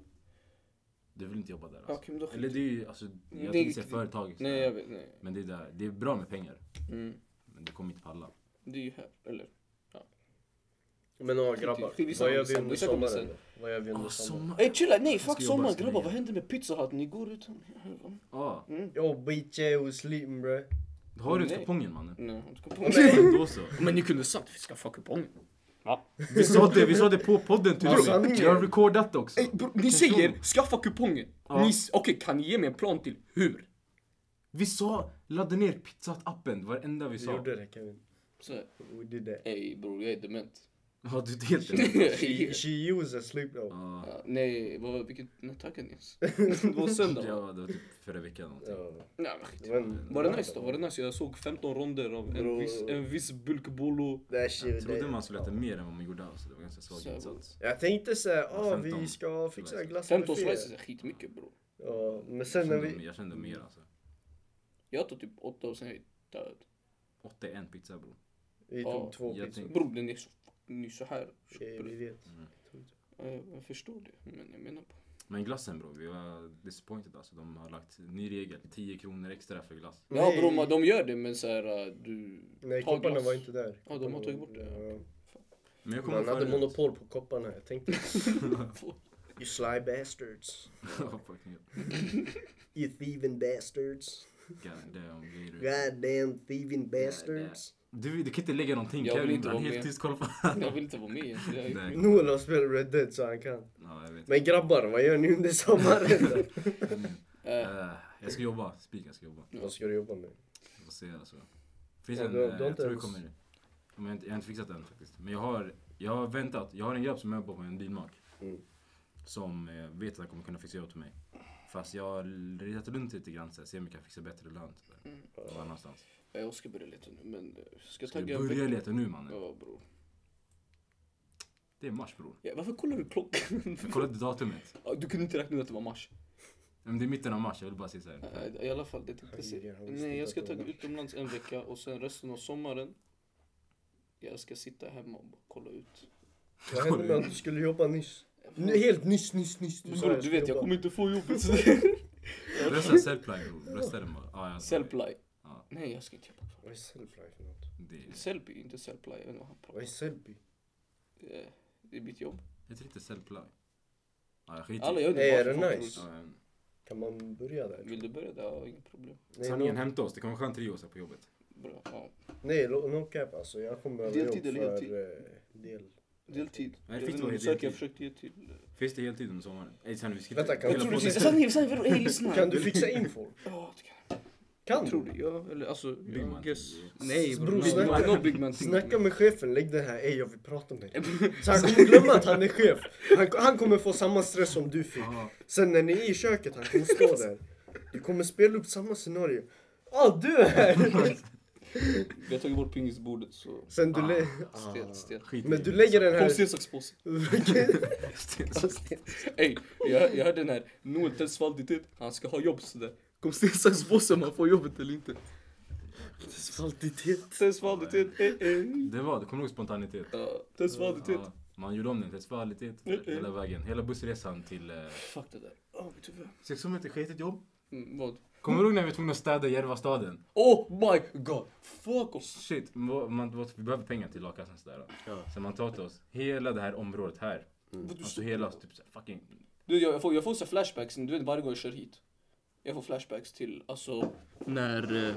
Speaker 1: Du vill inte jobba där
Speaker 2: Ja,
Speaker 1: alltså?
Speaker 2: men då skit.
Speaker 1: Eller det är ju, alltså, jag
Speaker 2: Det är
Speaker 1: tänkte säga
Speaker 2: riktigt-
Speaker 1: företag. så
Speaker 2: nej,
Speaker 1: här.
Speaker 2: jag vet. Nej.
Speaker 1: Men det är, där, det är bra med pengar.
Speaker 2: Mm.
Speaker 1: Men du kommer inte palla.
Speaker 2: Det är ju här. Eller?
Speaker 3: Men ja, grabbar.
Speaker 2: Skit i
Speaker 3: Vad gör vi
Speaker 2: samma-
Speaker 3: under
Speaker 2: vi ska komma
Speaker 3: sommaren?
Speaker 2: sen.
Speaker 3: då? Vad gör vi
Speaker 1: Ah,
Speaker 3: under sommaren?
Speaker 2: Ey chilla, nej
Speaker 1: ska
Speaker 2: fuck
Speaker 1: jobba
Speaker 2: sommar
Speaker 1: sen
Speaker 2: grabbar.
Speaker 1: igen.
Speaker 2: Vad händer med Pizza Hut? Ni går utan här va?
Speaker 1: Ah,
Speaker 3: Yo bitch, jag är sleeping bre.
Speaker 1: har du
Speaker 2: Mm. Nej.
Speaker 1: inte kupongen mannen?
Speaker 2: Nej, jag ska på
Speaker 1: Då så.
Speaker 5: Men ni kunde sagt vi ska få kupongen.
Speaker 1: Vi sa det, vi sa det på podden
Speaker 3: Ja,
Speaker 1: tusen.
Speaker 3: sanningen.
Speaker 1: Jag har recordat det också.
Speaker 2: Ey bror, ni säger skaffa kupongen.
Speaker 1: Ja.
Speaker 2: Ni s- Okej, kan ni ge mig en plan till hur?
Speaker 1: Vi sa ladda ner pizzat-appen, det var det enda vi
Speaker 3: Vi
Speaker 1: sa.
Speaker 3: gjorde det Kevin.
Speaker 2: Så här,
Speaker 3: We did that.
Speaker 2: ey bror jag är dement.
Speaker 1: Ja, du det är helt rätt.
Speaker 3: She, she uses sleep though.
Speaker 1: Ja,
Speaker 2: Ja, nej, vad var vilket... När taggade ni ens? Det var söndag
Speaker 1: det
Speaker 2: va?
Speaker 1: var det var typ förra veckan någonting.
Speaker 3: Ja.
Speaker 2: Nej, men skit.
Speaker 3: det var en-
Speaker 2: Var det nice då? Var det nice? Jag såg 15 ronder av en
Speaker 3: Bro.
Speaker 2: viss, en viss bulkbolo.
Speaker 3: Det här shit,
Speaker 1: Jag trodde
Speaker 3: det-
Speaker 1: man skulle äta mer än vad man gjorde alltså. Det var ganska svag
Speaker 2: Så-
Speaker 1: insats.
Speaker 3: Jag tänkte såhär, ah, vi
Speaker 1: 15
Speaker 3: ska fixa
Speaker 1: slices.
Speaker 3: glass
Speaker 2: 15
Speaker 3: buffé.
Speaker 2: slices är skitmycket bror.
Speaker 3: Ja, men
Speaker 1: Jag
Speaker 3: sen när
Speaker 1: kände,
Speaker 3: vi...
Speaker 1: jag kände mer alltså.
Speaker 2: Jag tog typ 8 och sen är jag död.
Speaker 1: 81 pizza bror.
Speaker 3: Vi
Speaker 2: Ja,
Speaker 3: tog två
Speaker 1: jag
Speaker 3: pizzor.
Speaker 1: tänkte-
Speaker 2: Bror den är så
Speaker 5: ni så här
Speaker 3: Eh,
Speaker 5: köper
Speaker 3: Vi
Speaker 5: det.
Speaker 3: vet.
Speaker 1: Mm.
Speaker 5: Eh, Jag förstår det, men jag menar på.
Speaker 1: Men glassen bro, vi var disappointed alltså. De har lagt ny regel, 10 kronor extra för glass.
Speaker 5: Ja
Speaker 3: Nej.
Speaker 5: bror, men de gör det men så här, eh, du...
Speaker 3: Nej,
Speaker 5: Ta
Speaker 3: kopparna
Speaker 5: glass.
Speaker 3: var inte där.
Speaker 5: Ja, de har tagit bort det.
Speaker 3: Ja.
Speaker 1: Men jag kommer
Speaker 3: Man hade
Speaker 1: förut.
Speaker 3: monopol på kopparna. Jag tänkte, you sly bastards.
Speaker 1: Ja, fucking hell.
Speaker 3: You thieving bastards.
Speaker 1: God damn, gator.
Speaker 5: Mm.
Speaker 3: God damn thieving bastards.
Speaker 1: Du, du kan inte lägga någonting.
Speaker 5: Jag vill
Speaker 1: Kevin
Speaker 5: inte
Speaker 1: han
Speaker 5: vara
Speaker 1: helt
Speaker 5: med.
Speaker 1: tyst kollar på.
Speaker 5: Jag vill inte vara med ens. Det är-
Speaker 1: Nej,
Speaker 3: Noel har spelat Red Dead så han kan.
Speaker 1: ja, jag vet.
Speaker 3: Men grabbar, vad gör ni under sommaren?
Speaker 5: Eh,
Speaker 1: Eh, jag ska jobba, spik jag ska jobba.
Speaker 3: vad ska du jobba med?
Speaker 1: Vi får se alltså. Finns
Speaker 3: Ja,
Speaker 1: en,
Speaker 3: du har-
Speaker 1: eh,
Speaker 3: du har
Speaker 1: jag
Speaker 3: inte
Speaker 1: tror det
Speaker 3: ens-
Speaker 1: kommer. Ja, men Jag har inte- jag har inte fixat den faktiskt. Men jag har, jag har väntat. Jag har en grabb som jobbar på en bilmak.
Speaker 3: Mm.
Speaker 1: Som eh, vet att han kommer kunna fixa jobb till mig. Fast jag har ritat runt lite grann så här, se om jag kan fixa bättre lön. typ. så där. Någon annanstans.
Speaker 5: Äh, Jag ska börja leta nu men... eh, Ska jag
Speaker 1: Ska vi
Speaker 5: tagga...
Speaker 1: börja leta nu mannen?
Speaker 5: Ja bror.
Speaker 1: Det är mars bror.
Speaker 5: Ja, varför kollar du klockan?
Speaker 1: Jag kollade datumet.
Speaker 5: Ja, Du kunde inte räkna ut att det var mars.
Speaker 1: Men det är mitten av mars, jag vill bara se så här.
Speaker 5: Eh, I alla fall, det tänkte jag säga.
Speaker 3: Herregud, han visste
Speaker 5: Nej, jag
Speaker 3: inte
Speaker 5: ska
Speaker 3: att det
Speaker 5: ta
Speaker 3: var mars.
Speaker 5: utomlands en vecka och sen resten av sommaren. Jag ska sitta hemma och bara kolla ut.
Speaker 3: Vad hände med att du skulle jobba nyss? Nu, helt nyss, nyss, nyss. Du, sa
Speaker 5: Bror, du
Speaker 3: skulle
Speaker 5: vet, jag
Speaker 3: jobba.
Speaker 5: kommer inte få jobbet.
Speaker 1: Rösta self-plug bror. Rösta den bara. Ah, jag-
Speaker 5: Selfly.
Speaker 1: Ja.
Speaker 5: Nej, jag ska inte jobba kvar.
Speaker 3: Vad är selfie för något?
Speaker 1: Det är
Speaker 5: Selby, inte selfly. Jag vet inte vad han
Speaker 3: Vad är
Speaker 5: pratar
Speaker 3: selfie?
Speaker 5: om. Eh, Det är mitt jobb.
Speaker 1: heter det inte self-plug. Ah, jag skiter i
Speaker 5: Alla
Speaker 1: det.
Speaker 5: gör
Speaker 3: Nej,
Speaker 5: bara
Speaker 3: är
Speaker 5: för
Speaker 3: det
Speaker 5: folk,
Speaker 3: nice?
Speaker 5: bror.
Speaker 1: Ja, men-
Speaker 3: Kan man börja där?
Speaker 5: Vill du börja där? Ja, inga problem.
Speaker 3: Nej,
Speaker 1: Sanningen
Speaker 3: no-
Speaker 1: hämta oss, det kommer en skön trio så här på jobbet.
Speaker 5: Bra. Ja.
Speaker 3: Nej, lo- no cap alltså. Jag kommer behöva
Speaker 5: Deltid
Speaker 3: jobb
Speaker 5: eller
Speaker 3: för
Speaker 5: heltid?
Speaker 3: eh, del.
Speaker 5: Deltid.
Speaker 1: det
Speaker 5: Jag
Speaker 1: fick
Speaker 5: vet inte om
Speaker 1: vara
Speaker 5: du söker,
Speaker 1: deltid.
Speaker 5: jag försökte ge till...
Speaker 1: Finns det heltid under sommaren? Ey sen vi skippar.
Speaker 3: Vänta, kan-
Speaker 1: Hela
Speaker 3: Jag tror
Speaker 1: podden.
Speaker 3: precis-
Speaker 5: Sanningen, sanningen, hej lyssna!
Speaker 3: Kan du fixa info?
Speaker 5: Ja, det kan jag.
Speaker 3: Kan
Speaker 5: Jag tror
Speaker 3: du?
Speaker 5: det, ja. Eller alltså,
Speaker 1: Big man.
Speaker 5: jag guess.
Speaker 1: Yeah.
Speaker 5: Nej
Speaker 3: Bror,
Speaker 5: bror,
Speaker 3: snacka-
Speaker 5: no, no big man thing.
Speaker 3: Snacka med chefen, lägg den här, ey jag vill prata med dig. Så han kommer glömma att han är chef. Han, han kommer få samma stress som du fick.
Speaker 1: Ja,
Speaker 3: Sen när ni är i köket, han kommer stå där. Du kommer spela upp samma scenario. Ja, ah, du är här!
Speaker 5: Vi har tagit bort pingisbordet så...
Speaker 3: Sen du... lä-
Speaker 2: Ah,
Speaker 3: Ah.
Speaker 5: Stelt, stelt.
Speaker 1: skit i
Speaker 3: Men
Speaker 1: det.
Speaker 3: du lägger den
Speaker 5: Kom
Speaker 3: här...
Speaker 5: sten, sax, påse.
Speaker 1: Sten-
Speaker 5: Ey, jag, jag hörde den här. Noel Tells falditet, han ska ha jobb sådär. Kom sten, sax, påse om han får jobbet eller inte.
Speaker 3: Svaltitet.
Speaker 5: Tells falditet, ey ey.
Speaker 1: Det var, det kom nog spontanitet.
Speaker 5: Ja, Tells falditet.
Speaker 1: Ja, man gjorde om den till svalitet hela vägen. Hela bussresan till... Eh,
Speaker 5: Fuck det där. Åh, mitt huvud.
Speaker 1: sex som ett skitigt jobb.
Speaker 5: Mm, Vad?
Speaker 1: Kommer du ihåg när vi var tvungna att städa Järvastaden?
Speaker 5: Oh my god! Fuck oss!
Speaker 1: Shit, man, man, vi behöver pengar till lagkassan sådär.
Speaker 3: Ja.
Speaker 1: Så man tar till oss hela det här området här. Alltså hela, typ såhär fucking...
Speaker 5: Du, jag, jag får, jag får så här flashbacks, du vet varje gång jag kör hit. Jag får flashbacks till, alltså...
Speaker 2: När, eh,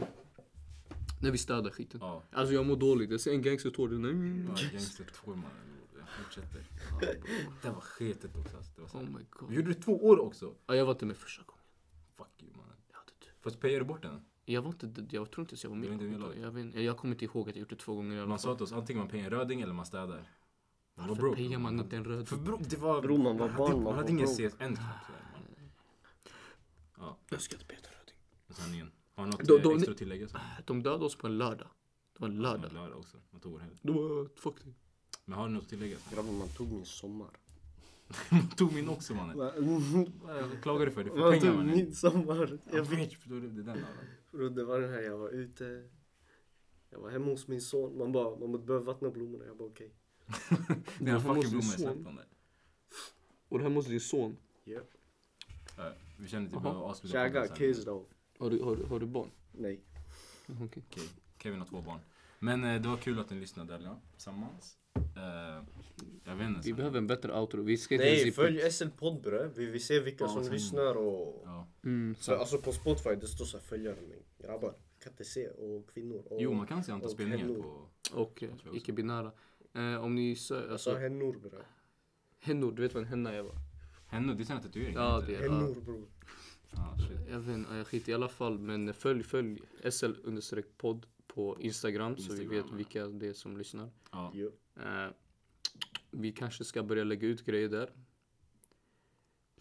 Speaker 2: när vi städade skiten.
Speaker 1: Ja.
Speaker 2: Alltså jag mår dåligt, jag ser en gangstertår.
Speaker 1: Ja,
Speaker 2: Mm.
Speaker 1: Gangster Tour mannen. Jag fortsätter. Ja, bro. det var sketet också alltså. Det var så
Speaker 2: Oh
Speaker 1: här.
Speaker 2: my
Speaker 1: Vi
Speaker 2: god.
Speaker 1: gjorde det två år också.
Speaker 2: Ja, jag var inte med första gången.
Speaker 1: Fuck you mannen.
Speaker 2: Jag hade tur.
Speaker 1: Fast pejade du bort den?
Speaker 2: Jag var inte, jag tror inte ens jag var
Speaker 1: Du var
Speaker 2: med.
Speaker 1: inte med i
Speaker 2: Jag,
Speaker 1: laget?
Speaker 2: jag, vet, inte. jag kommer inte ihåg att jag gjort det två gånger i alla
Speaker 1: Man
Speaker 2: fall.
Speaker 1: sa till oss antingen man pejar en röding eller man städar. Man var
Speaker 2: Varför
Speaker 1: broke,
Speaker 2: pejar
Speaker 1: bro.
Speaker 2: man inte en röd?
Speaker 1: För bro, det var...
Speaker 3: Bro, man var
Speaker 1: hade-
Speaker 3: barn, man
Speaker 1: Man
Speaker 3: var
Speaker 1: hade ingen CSN
Speaker 3: broke.
Speaker 1: knappt. sådär, man. Ja,
Speaker 5: Jag ska inte peta röding.
Speaker 1: men sanningen. Har du något
Speaker 2: Då-
Speaker 1: eh,
Speaker 2: då-
Speaker 1: extra att tillägga? Så?
Speaker 2: De dödade oss på en lördag. Det var en
Speaker 1: Ja,
Speaker 2: lördag.
Speaker 1: Lördag också. Man tog vår helg.
Speaker 2: De bara, fuck det.
Speaker 1: Men har du något att tillägga? så?
Speaker 3: Grabbar, man tog min sommar.
Speaker 1: Man tog min också mannen. Vad klagar du för? Det är för
Speaker 3: Mm. Man
Speaker 1: pengar
Speaker 3: tog
Speaker 1: mannen.
Speaker 3: min sommar.
Speaker 1: Jag
Speaker 3: Jag
Speaker 1: vet, förstår du? Det är den alla.
Speaker 3: Bro, det var den här, jag var ute. Jag var hemma hos min son. Man bara, man behöver vattna blommorna. Jag bara okej.
Speaker 1: Det är
Speaker 2: Varför måste
Speaker 1: fucking
Speaker 2: du
Speaker 1: blommor
Speaker 2: så?
Speaker 1: släppt mannen.
Speaker 2: Och det här måste din son.
Speaker 3: Yeah.
Speaker 1: Ja, Vi känner typ
Speaker 2: Jaha.
Speaker 1: att avsluta
Speaker 3: Käka
Speaker 1: podden sen.
Speaker 3: kids då.
Speaker 2: Har du, har, du- har du barn?
Speaker 3: Nej.
Speaker 2: Okej.
Speaker 1: Okej, Kevin har två barn. Men eh, det var kul att ni lyssnade alla tillsammans. Eh, jag vet inte.
Speaker 2: Vi
Speaker 1: så-
Speaker 2: behöver en bättre outro. Vi ska inte
Speaker 3: Nej,
Speaker 2: ens-
Speaker 3: följ SL Podd bre. Vi vill se vilka
Speaker 1: Ja,
Speaker 3: som
Speaker 1: sen-
Speaker 3: lyssnar och...
Speaker 1: Ja.
Speaker 2: Mm,
Speaker 3: Så, alltså på Spotify det står såhär följare men grabbar. Kan inte se. Och kvinnor. Och,
Speaker 1: Jo, man kan se antal
Speaker 3: och
Speaker 1: spelningar
Speaker 3: hennor.
Speaker 1: på...
Speaker 2: och eh,
Speaker 1: också.
Speaker 2: icke-binära. Eh, om ni söker,
Speaker 3: Jag sa
Speaker 2: alltså
Speaker 3: hennor bre.
Speaker 2: hennor, du vet vad en henna är va?
Speaker 1: Henno, det är såna tatueringar.
Speaker 2: Ja,
Speaker 1: inte?
Speaker 2: det är-
Speaker 3: Hennor bror.
Speaker 1: Ja, Ah, shit.
Speaker 2: Jag vet inte, jag skiter i alla fall. Men följ, följ SL-podd på Instagram, så vi
Speaker 1: Instagram,
Speaker 2: vet
Speaker 1: ja.
Speaker 2: vilka det är som lyssnar.
Speaker 1: Ja.
Speaker 3: Jo.
Speaker 2: Eh, vi kanske ska börja lägga ut grejer där.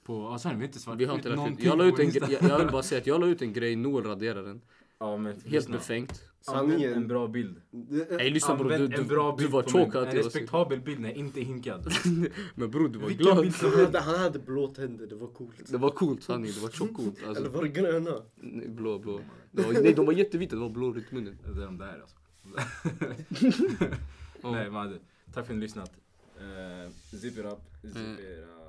Speaker 1: På... Ja, sen, vi har inte svarat
Speaker 2: Vi har inte lagt
Speaker 1: någonting
Speaker 2: ut. Jag, la ut
Speaker 1: på
Speaker 2: en
Speaker 1: Insta.
Speaker 2: gre- jag, jag vill bara säga att jag la ut en grej, Noel raderade den.
Speaker 1: Ja, men
Speaker 2: Helt
Speaker 1: lyssna.
Speaker 2: befängt.
Speaker 1: Använd
Speaker 3: Sanningen.
Speaker 1: en bra bild.
Speaker 2: Ey lyssna bror, du,
Speaker 1: Använd
Speaker 2: du,
Speaker 1: en bra bild
Speaker 2: du var
Speaker 1: på mig.
Speaker 2: chokad.
Speaker 1: En
Speaker 2: till oss.
Speaker 1: respektabel bild när jag inte är hinkad.
Speaker 2: Men bror du var
Speaker 1: Vilken
Speaker 2: glad.
Speaker 1: bild som
Speaker 3: Han
Speaker 1: helst.
Speaker 3: hade, han hade blå tänder, det var coolt.
Speaker 2: Det var coolt sanning, det var tjockt coolt.
Speaker 3: Eller
Speaker 2: Alltså,
Speaker 3: var det gröna?
Speaker 2: nej, blå, blå. Det var, nej de var jättevita, det var blå runt munnen.
Speaker 1: Det är de där alltså. Nej, man hade... Tack för att ni har lyssnat. Uh, zip it up. Zip
Speaker 2: Eh.
Speaker 1: it up.